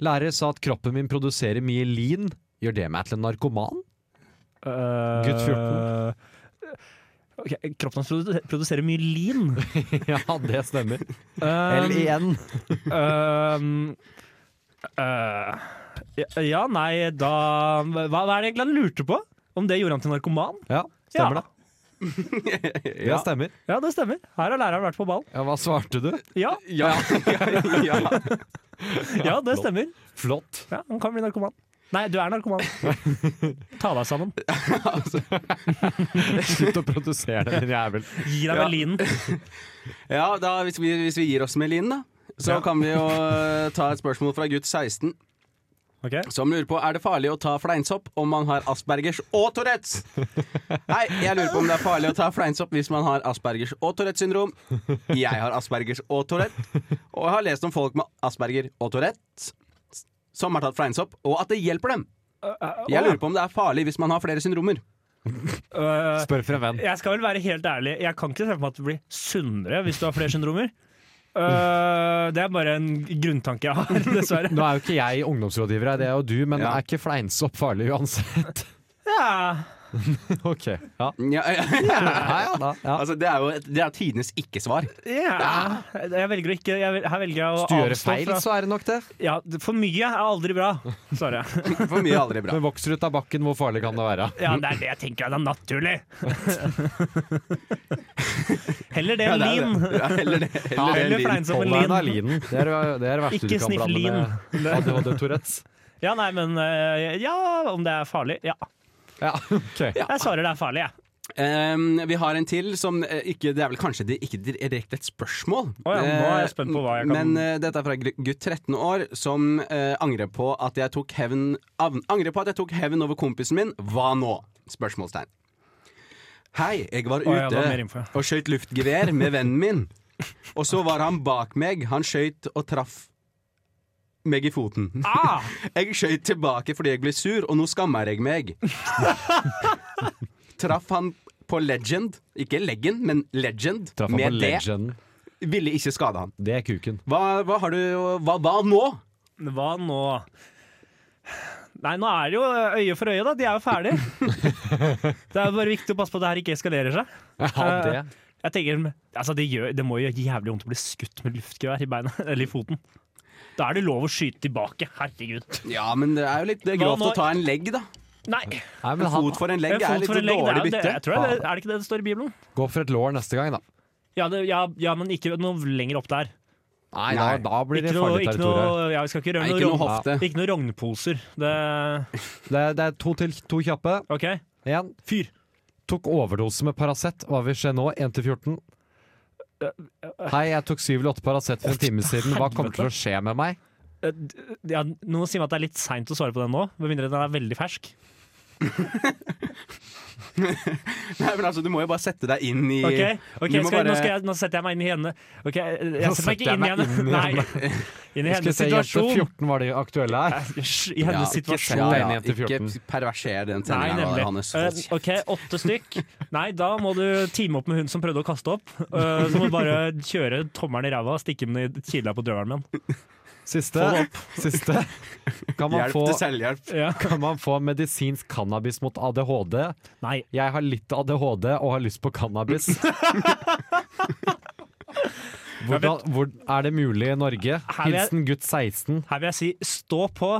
S6: Lærer sa at kroppen min produserer mye lin. Gjør det meg til en narkoman?
S4: Eh,
S6: Gutt 14.
S4: ok, kroppen hans produ- produserer mye lin.
S6: ja, det stemmer.
S4: Um,
S6: L-I-N.
S4: Øhm, øh, ja- ja, nei, da hva, hva er det egentlig han lurte på? Om det gjorde han til narkoman?
S6: Ja, stemmer
S4: Ja.
S6: det. Ja, stemmer.
S4: Ja, det stemmer. Her har læreren vært på ball.
S6: Ja, hva svarte du?
S4: Ja,
S5: Ja, ja, ja.
S4: ja det stemmer.
S6: Flott.
S4: Ja, han kan bli narkoman. Nei, du er narkoman. Ta deg sammen.
S6: Slutt å produsere det, din jævel.
S4: Gi deg med linen.
S5: Ja, da, hvis, vi, hvis vi gir oss med Linn, da, så
S4: Ja.
S5: kan vi jo eh, ta et spørsmål fra gutt 16,
S4: Ok.
S5: som lurer på er det farlig å ta fleinsopp om man har aspergers og Tourettes. Nei, jeg lurer på om det er farlig å ta fleinsopp hvis man har aspergers og Tourettes syndrom. Jeg har aspergers og Tourette, og jeg har lest om folk med asperger og Tourette. som er tatt fra Einsopp, og at det hjelper dem. Jeg lurer på om det er farlig hvis man har flere syndromer.
S4: Øh,
S6: Spør for en venn.
S4: jeg skal vel være helt ærlig, jeg kan ikke se for meg at du blir sunnere hvis du har flere syndromer. Øh, det er bare en grunntanke jeg har, dessverre.
S6: Nå er jo ikke jeg ungdomsrådgiver, det er jo du, men
S5: Ja.
S6: er ikke fleinsopp farlig uansett?
S4: Ja.
S6: ok. Ja.
S5: Ja, ja,
S6: Nei, ja, da, ja.
S5: Altså, det er jo et- det er tidenes ikke-svar.
S4: Ja. Jeg velger å ikke jeg, vel- Her velger jeg å
S6: Hvis du gjør
S4: avstå
S6: feil, altså?
S4: fra
S6: så er det nok det.
S4: ja, For mye er aldri bra, svarer jeg.
S5: For mye er aldri bra.
S6: Men vokser du ut av bakken, hvor farlig kan det være?
S4: Ja, det er det jeg tenker at er naturlig. Heller det
S5: Ja,
S4: enn
S5: det er
S4: lin.
S5: det. Ja, heller det. Heller det enn
S4: Heller
S5: lin.
S4: fleinsomme
S6: Hold deg unna
S4: lin.
S6: linen. Det er det er det verste
S4: Ikke
S6: du kan
S4: sniff
S6: blande
S4: lin.
S6: med ADHD Tourettes.
S4: Ja, nei, men eh, Ja, om det er farlig? Ja.
S6: Ja, ok.
S4: Jeg svarer det er farlig, jeg.
S5: Ehm, vi har en til som eh, ikke Det er vel kanskje di- ikke direkte et spørsmål.
S4: Å ja, nå er jeg
S5: Eh,
S4: spent på hva jeg kan-
S5: Men eh, dette er fra gr- gutt 13 år som eh, angrer på at jeg tok hevn av- Angrer på at jeg tok hevn over kompisen min. Hva nå? Spørsmålstegn. Hei, jeg var
S4: ja, det
S5: ute
S4: var mer info, ja.
S5: og skøyt luftgevær med vennen min. Og så var han bak meg. Han skøyt og traff meg i foten.
S4: Ah!
S5: Jeg skjøt tilbake fordi jeg ble sur, og nå skammer jeg meg. Traff han på legend, ikke legend, men legend,
S6: Traff han på
S5: med det,
S6: legenden.
S5: ville ikke skade han.
S6: Det er kuken.
S5: Hva, hva har du Hva, hva nå?
S4: Hva nå? Nei, nå er det jo eh, øye for øye, da. De er jo ferdige. Det er bare viktig å passe på at det her ikke eskalerer seg.
S6: Ja, det.
S4: Jeg tenker, altså det, gjør, det må jo gjøre jævlig vondt å bli skutt med luftgevær i beina, eller i foten. Da er det lov å skyte tilbake. Herregud.
S5: Ja, men det er jo litt det er
S4: Hva
S5: grovt
S4: nå?
S5: å ta en legg, da.
S4: Nei!
S6: Nei, men
S5: En
S6: han,
S5: fot for en
S4: En
S5: legg
S4: fot
S5: er litt
S4: for en legg, det er
S5: dårlig
S4: jo det.
S5: bytte.
S4: Jeg tror det, er det ikke det det står i Bibelen?
S6: gå for et lår neste gang, da.
S4: Ja, det, ja, ja men ikke noe lenger opp der.
S6: Nei, da, da blir det
S4: Ikke noe,
S6: farlig
S4: ikke
S6: territorium.
S4: noe, ja, vi skal ikke
S5: Nei,
S4: røre
S5: ikke noe
S4: noe
S5: hofte.
S4: rogn- Ikke noe rognposer. Det
S6: Det, det er to til to kjappe.
S4: OK.
S6: Én
S4: Fyr.
S6: tok overdose med Paracet. Hva vil skje nå? 1 til 14. Hei, jeg tok 7 eller 8 Paracet for en time siden. Hva kommer til å skje med meg?
S4: Eh, d- Ja, noen sier meg at det er litt seint å svare på den nå, med mindre den er veldig fersk.
S5: Nei, men altså, du må jo bare sette deg inn i
S4: Ok, ok,
S5: Du må
S4: skal,
S5: bare-
S4: nå, skal jeg, nå setter jeg meg inn i henne. Ok, jeg,
S6: Nå
S4: jeg setter meg
S6: setter
S4: ikke inn i
S6: jeg meg
S4: henne. Nei. Inn i
S6: Skulle
S4: hennes
S6: se, jente
S4: situasjon.
S6: 14 var det aktuelle her.
S4: Æsj, I
S5: Ja,
S4: hennes
S5: ikke
S4: situasjon.
S5: send
S6: Ja, ja,
S5: deg inn i jente
S6: ikke
S5: 14. perverser den
S4: Nei,
S5: sendinga,
S4: nemlig.
S5: Johannes.
S4: Eh, OK, åtte stykk. Nei, da må du teame opp med hun som prøvde å kaste opp. Eh, så må du bare kjøre tommelen i ræva og stikke den i kila på døren min.
S6: Siste. Siste. Kan man
S5: Hjelp
S6: få
S5: til selvhjelp.
S4: Ja.
S6: kan man få medisinsk cannabis mot ADHD?
S4: Nei.
S6: Jeg har litt ADHD og har lyst på cannabis. Hvordan, hvor, er det mulig i Norge?
S4: Her vil jeg-
S6: Hilsen gutt 16.
S4: Her vil jeg si stå på.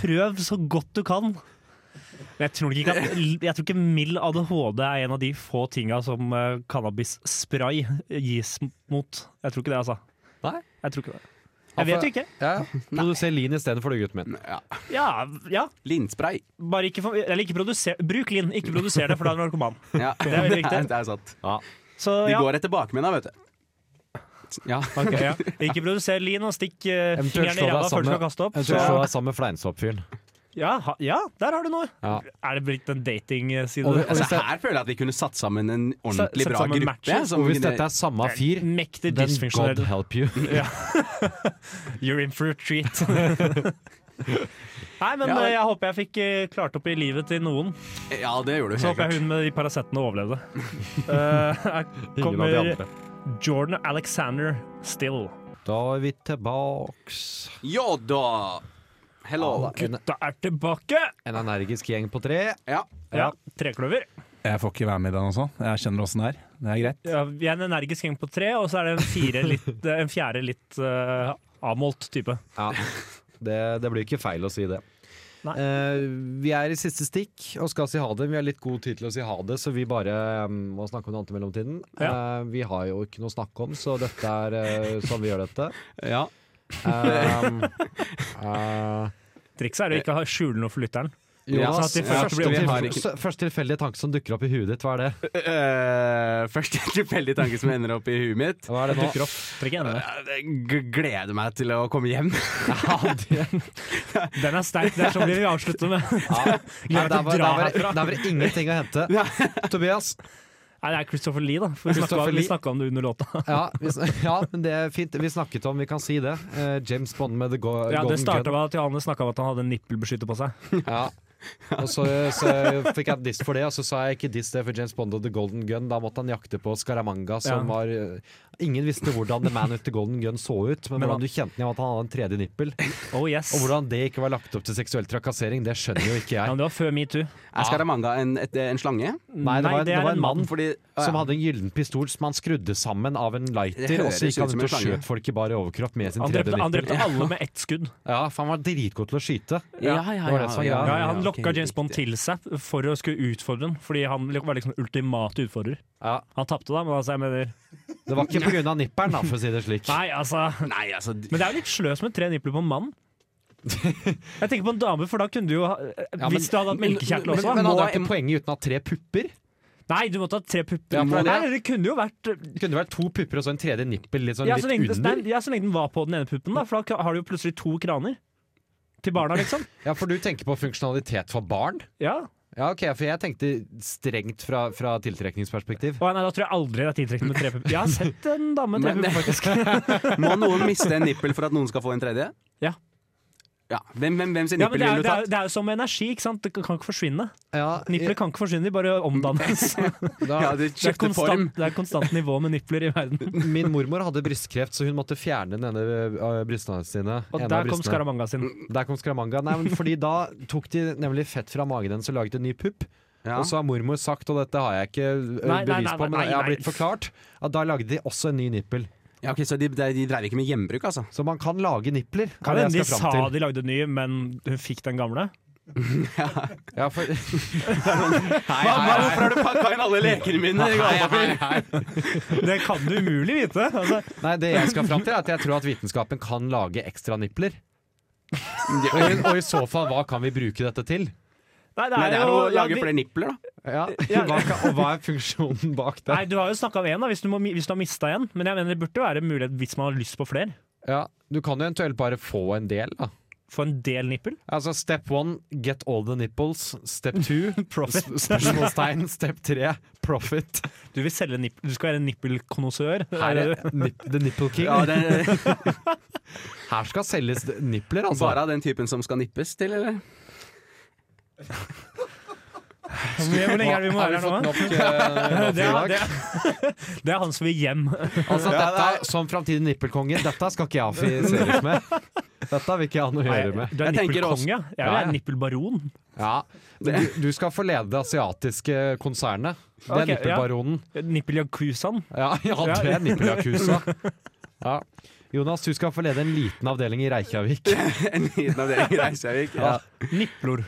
S4: Prøv så godt du kan. Men Jeg tror, nok ikke at, jeg tror ikke mild ADHD er en av de få tinga som eh, cannabisspray gis mot. Jeg tror ikke det, altså.
S6: Nei?
S4: Jeg tror ikke det. Jeg vet jo ikke.
S6: Ja, ja. Produser lin istedenfor du, gutten min.
S5: Ja.
S4: Ja, ja.
S5: Linspray.
S4: Bare ikke, for, eller ikke produser, bruk lin, ikke produser det, for da er du narkoman.
S5: Ja.
S4: Det er veldig riktig.
S5: Det er sant.
S4: Så,
S5: De
S4: ja.
S5: går etter bakmennene, vet du. Ja.
S4: Ok, ja. Ikke produser lin og stikk eh,
S6: Eventuelt
S4: fingeren
S6: slå
S4: i
S6: deg
S4: ræva før du skal
S6: sammen-
S4: kaste opp.
S6: eventuelt
S4: Så,
S6: slå deg sammen med fleinsoppfyren.
S4: ja, ha- ja, der har du noe.
S6: Ja.
S4: Er det blitt en eh, datingside?
S6: Og- og
S5: Altså,
S6: hvis det-
S5: her føler jeg at vi kunne satt sammen en ordentlig
S4: Satt
S5: bra
S4: sammen
S5: gruppe.
S4: matches,
S5: som
S6: Og hvis
S5: kunne-
S6: dette er samme fyr,
S4: Mektig
S6: then god
S4: dysfunksjonell.
S6: help you.
S4: You're in for a treat. Nei, men
S5: Ja.
S4: eh, jeg håper jeg fikk eh, klart opp i livet til noen.
S5: Ja, det gjorde du.
S4: Så
S5: helt
S4: håper jeg
S5: klart.
S4: hun med de Paracetene overlevde. Eh, her
S6: Ingen av de
S4: kommer
S6: andre.
S4: Jordan Alexander Still.
S6: Da er vi tilbake.
S5: Ja da! Hello.
S6: En,
S4: Da er tilbake!
S6: en energisk gjeng på tre.
S5: Ja.
S4: Ja, Trekløver.
S8: Jeg får ikke være med i den også. Jeg skjønner åssen det er. Det er greit.
S4: Ja, vi er en energisk gjeng på tre, og så er det en, fire litt, en fjerde litt eh, avmålt type.
S6: Ja, det, det blir ikke feil å si det.
S4: Nei.
S6: Eh, vi er i siste stikk og skal si ha det. Vi har litt god tid til å si ha det, så vi bare eh, må snakke om noe annet i mellomtiden.
S4: Ja.
S6: Eh, vi har jo ikke noe å snakke om, så dette er eh, sånn vi gjør dette.
S5: ja.
S6: Um, eh,
S4: Trikset er å ikke ha- skjule noe for lytteren.
S5: Ja,
S6: Jonas,
S4: sånn at de
S6: altså, første,
S4: første blir
S6: til-
S5: opptatt.
S6: s- første tilfeldige tanke som dukker opp i huet ditt, hva er det?
S5: Eh, første tilfeldig tanke som ender opp i huet mitt.
S6: Hva er det nå?
S4: Dukker opp. Trekk igjen det.
S5: Eh, Jeg gleder meg til å komme hjem.
S6: Ja, det,
S4: Den er sterk. Det er sånn vi vil avslutte med.
S6: ja. Nei,
S4: Gleder meg til
S6: der,
S4: å
S6: var, der,
S4: dra
S6: var,
S4: herfra.
S6: der var det ingenting å hente. Tobias,
S4: Nei, det er Christopher Lee, da. For vi snakket
S6: Christopher
S4: om- vi
S6: Lee.
S4: snakka om det under låta.
S6: Ja, vi, sn- ja, men det er fint. Vi snakket om, vi kan si det. Eh, James Bond med The Go
S4: Ja, det
S6: Golden
S4: starta
S6: Gun.
S4: med at Johanne snakka om at han hadde en nippelbeskytter på seg.
S6: Ja. Og så, så fikk jeg diss for det, og så sa jeg ikke diss det for James Bond og The Golden Gun. Da måtte han jakte på Scaramanga, som
S4: Ja.
S6: var eh, Ingen visste hvordan The Man With The Golden Gun så ut, men
S4: Men
S6: hvordan
S4: da-
S6: du kjente igjen at han hadde en tredje nippel,
S4: Oh yes.
S6: og hvordan det ikke var lagt opp til seksuell trakassering, det skjønner jo ikke
S4: Ja, men
S6: jeg.
S4: det var før metoo.
S5: Er Scaramanga en, et, en slange?
S6: Nei, det var, det var en mann Ah,
S5: Fordi å,
S6: som
S5: ja.
S6: hadde en gyllen pistol som han skrudde sammen av en
S5: Det
S6: lighter, og
S5: høres
S6: så gikk
S5: ut
S6: han
S5: som
S6: ut
S5: en
S6: og
S5: slange.
S6: skjøt folk i bar overkropp med sin
S4: Han
S6: tredje
S4: drepte, han
S6: nippel.
S4: drepte alle med ett skudd.
S6: Ja, for han var dritgod til å skyte.
S5: ja, ja, ja,
S6: Det var det som var
S5: ja,
S6: greia.
S4: Ja, ja, han
S5: ok,
S4: lokka James Bond
S5: riktig.
S4: til seg for å skulle utfordre ham, fordi han var liksom den ultimate utfordrer.
S6: Ja.
S4: Han tapte, da, men altså, jeg mener
S6: Det var ikke pga. nipperen, da, for å si det slik.
S4: Nei, altså.
S5: Nei, altså d-
S4: Men det er jo litt sløst med tre nipler på en mann. Jeg tenker på en dame, for da kunne du jo ha
S6: Ja, men-
S4: Hvis du hadde hatt melkekjertel
S6: Men,
S4: også.
S6: men
S5: nå
S6: hadde
S5: er-
S6: vært poenget uten å ha tre pupper?
S4: Nei, du måtte ha tre pupper.
S6: Ja, for det
S4: Nei,
S6: er
S4: det kunne jo vært
S6: Det kunne vært to pupper og så en tredje nippel litt, sånn,
S4: ja, så lenge,
S6: litt
S4: det-
S6: under.
S4: nei, ja, så lenge den var på den ene puppen, da, for da har du jo plutselig to kraner. Til barna, liksom.
S6: Ja, for du tenker på funksjonalitet for barn?
S4: Ja.
S6: Ja, ok, for jeg tenkte strengt fra, fra tiltrekningsperspektiv.
S4: Å, nei, da tror jeg aldri det er tiltrekkende med tre pupper. Jeg har sett en dame med tre
S5: Men-
S4: pupper, faktisk.
S5: Må noen miste en nippel for at noen skal få en tredje?
S4: Ja.
S5: Ja, Hvem, hvem, hvem sin
S4: Ja, men
S5: nippel
S4: det, er,
S5: ville du
S4: det, er,
S5: tatt?
S4: det er jo som energi, ikke sant? Det kan kan ikke forsvinne.
S6: Ja,
S4: Nipler kan ikke forsvinne, de bare omdannes.
S6: da,
S5: Ja, det
S4: Det er,
S5: skifter form.
S4: konstant, det er konstant nivå med nipler i verden.
S6: Min mormor hadde brystkreft, så hun måtte fjerne denne øh, brystene sine.
S4: Og
S6: en av
S4: der kom
S6: brystene.
S4: Skaramanga sin.
S6: Der kom skaramanga. Nei, men fordi da tok de nemlig fett fra magen hennes og laget en ny pupp.
S5: Ja.
S6: Og så har mormor sagt, og dette har jeg ikke øh,
S4: Nei, nei,
S6: bevis
S4: nei,
S6: på, men
S4: nei,
S6: jeg har
S4: nei.
S6: blitt forklart, at da lagde de også en ny nippel.
S5: Ja, ok, Så de, de, de dreiv ikke med hjembruk, altså?
S6: Så man kan lage nipler. er
S4: Kan
S6: det
S4: hende de
S6: jeg skal
S4: sa
S6: fram til.
S4: de lagde en ny, men hun fikk den gamle.
S6: Ja, for,
S5: Hva, hva, hvorfor har du pakka inn alle lekene mine? i gavepapir?
S4: Det kan du umulig vite! Altså,
S6: nei, det jeg skal fram til, er at jeg tror at vitenskapen kan lage ekstra nipler. Og, i- og i så fall, hva kan vi bruke dette til?
S4: nei, det
S5: Nei,
S4: er
S5: det er
S4: jo
S5: å lage
S4: ja, vi-
S5: flere nipler, da.
S6: Ja,
S4: Ja.
S6: hva, kan, og hva er funksjonen bak det?
S4: Nei, Du har jo snakka om én, hvis, du må- hvis du har mista en. Men jeg mener det burde jo være en mulighet hvis man har lyst på flere.
S6: Ja, du kan jo eventuelt bare få en del, da.
S4: Få en del nippel.
S6: Altså step one, get all the nipples. Step two,
S4: Profit.
S6: sp- spørsmålstegn. Step tre, profit.
S4: Du vil selge nippel. Du skal være en nippelkonnoissør.
S6: Her
S4: Er
S6: er
S4: det-
S6: nip, the nipple king.
S5: Ja, det,
S6: Her skal selges nipler, altså.
S5: bare av den typen som skal nippes til, eller?
S4: Hvor lenge er det vi må
S6: Har
S4: være her
S6: fått
S4: nå?
S6: nok, eh,
S4: Det er, det, er, det er han som vil hjem.
S6: Altså dette, Som framtidig nippelkonge, dette skal ikke jeg affiseres med. Dette vil ikke jeg ha noe å gjøre
S4: Nei,
S6: med.
S4: Du er
S5: Jeg tenker også-
S4: nippelkonge. ja. Jeg vil
S6: Ja, ja.
S4: være nippelbaron.
S6: Ja, du, du skal få lede det asiatiske konsernet. Det er
S4: Ok, ja.
S6: nippelbaronen.
S4: Nippeljakusaen.
S6: Ja, ja, du er nippeljakusa. Ja. Jonas, du skal få lede en liten avdeling i Reykjavik.
S5: En liten avdeling i Reykjavik? Ja.
S4: Niplor.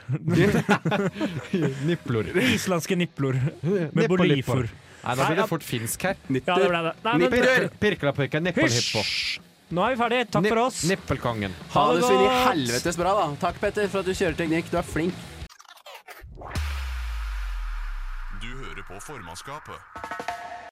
S6: Niplor.
S4: Islandske niplor. Med
S6: Nippo,
S4: bolifor.
S6: nippo. Nei, da blir det fort finsk her.
S4: Ja, det ble det. Nei, men-
S6: Pirker, pirkelapirker, nippelhippo.
S4: Hysj! Nå er vi ferdig. Takk for oss.
S6: Nip- Nippelkongen.
S5: Ha det så inn i
S4: godt.
S5: helvetes bra, da. Takk, Petter, for at du kjører teknikk. Du er flink.
S1: Du hører på formannskapet.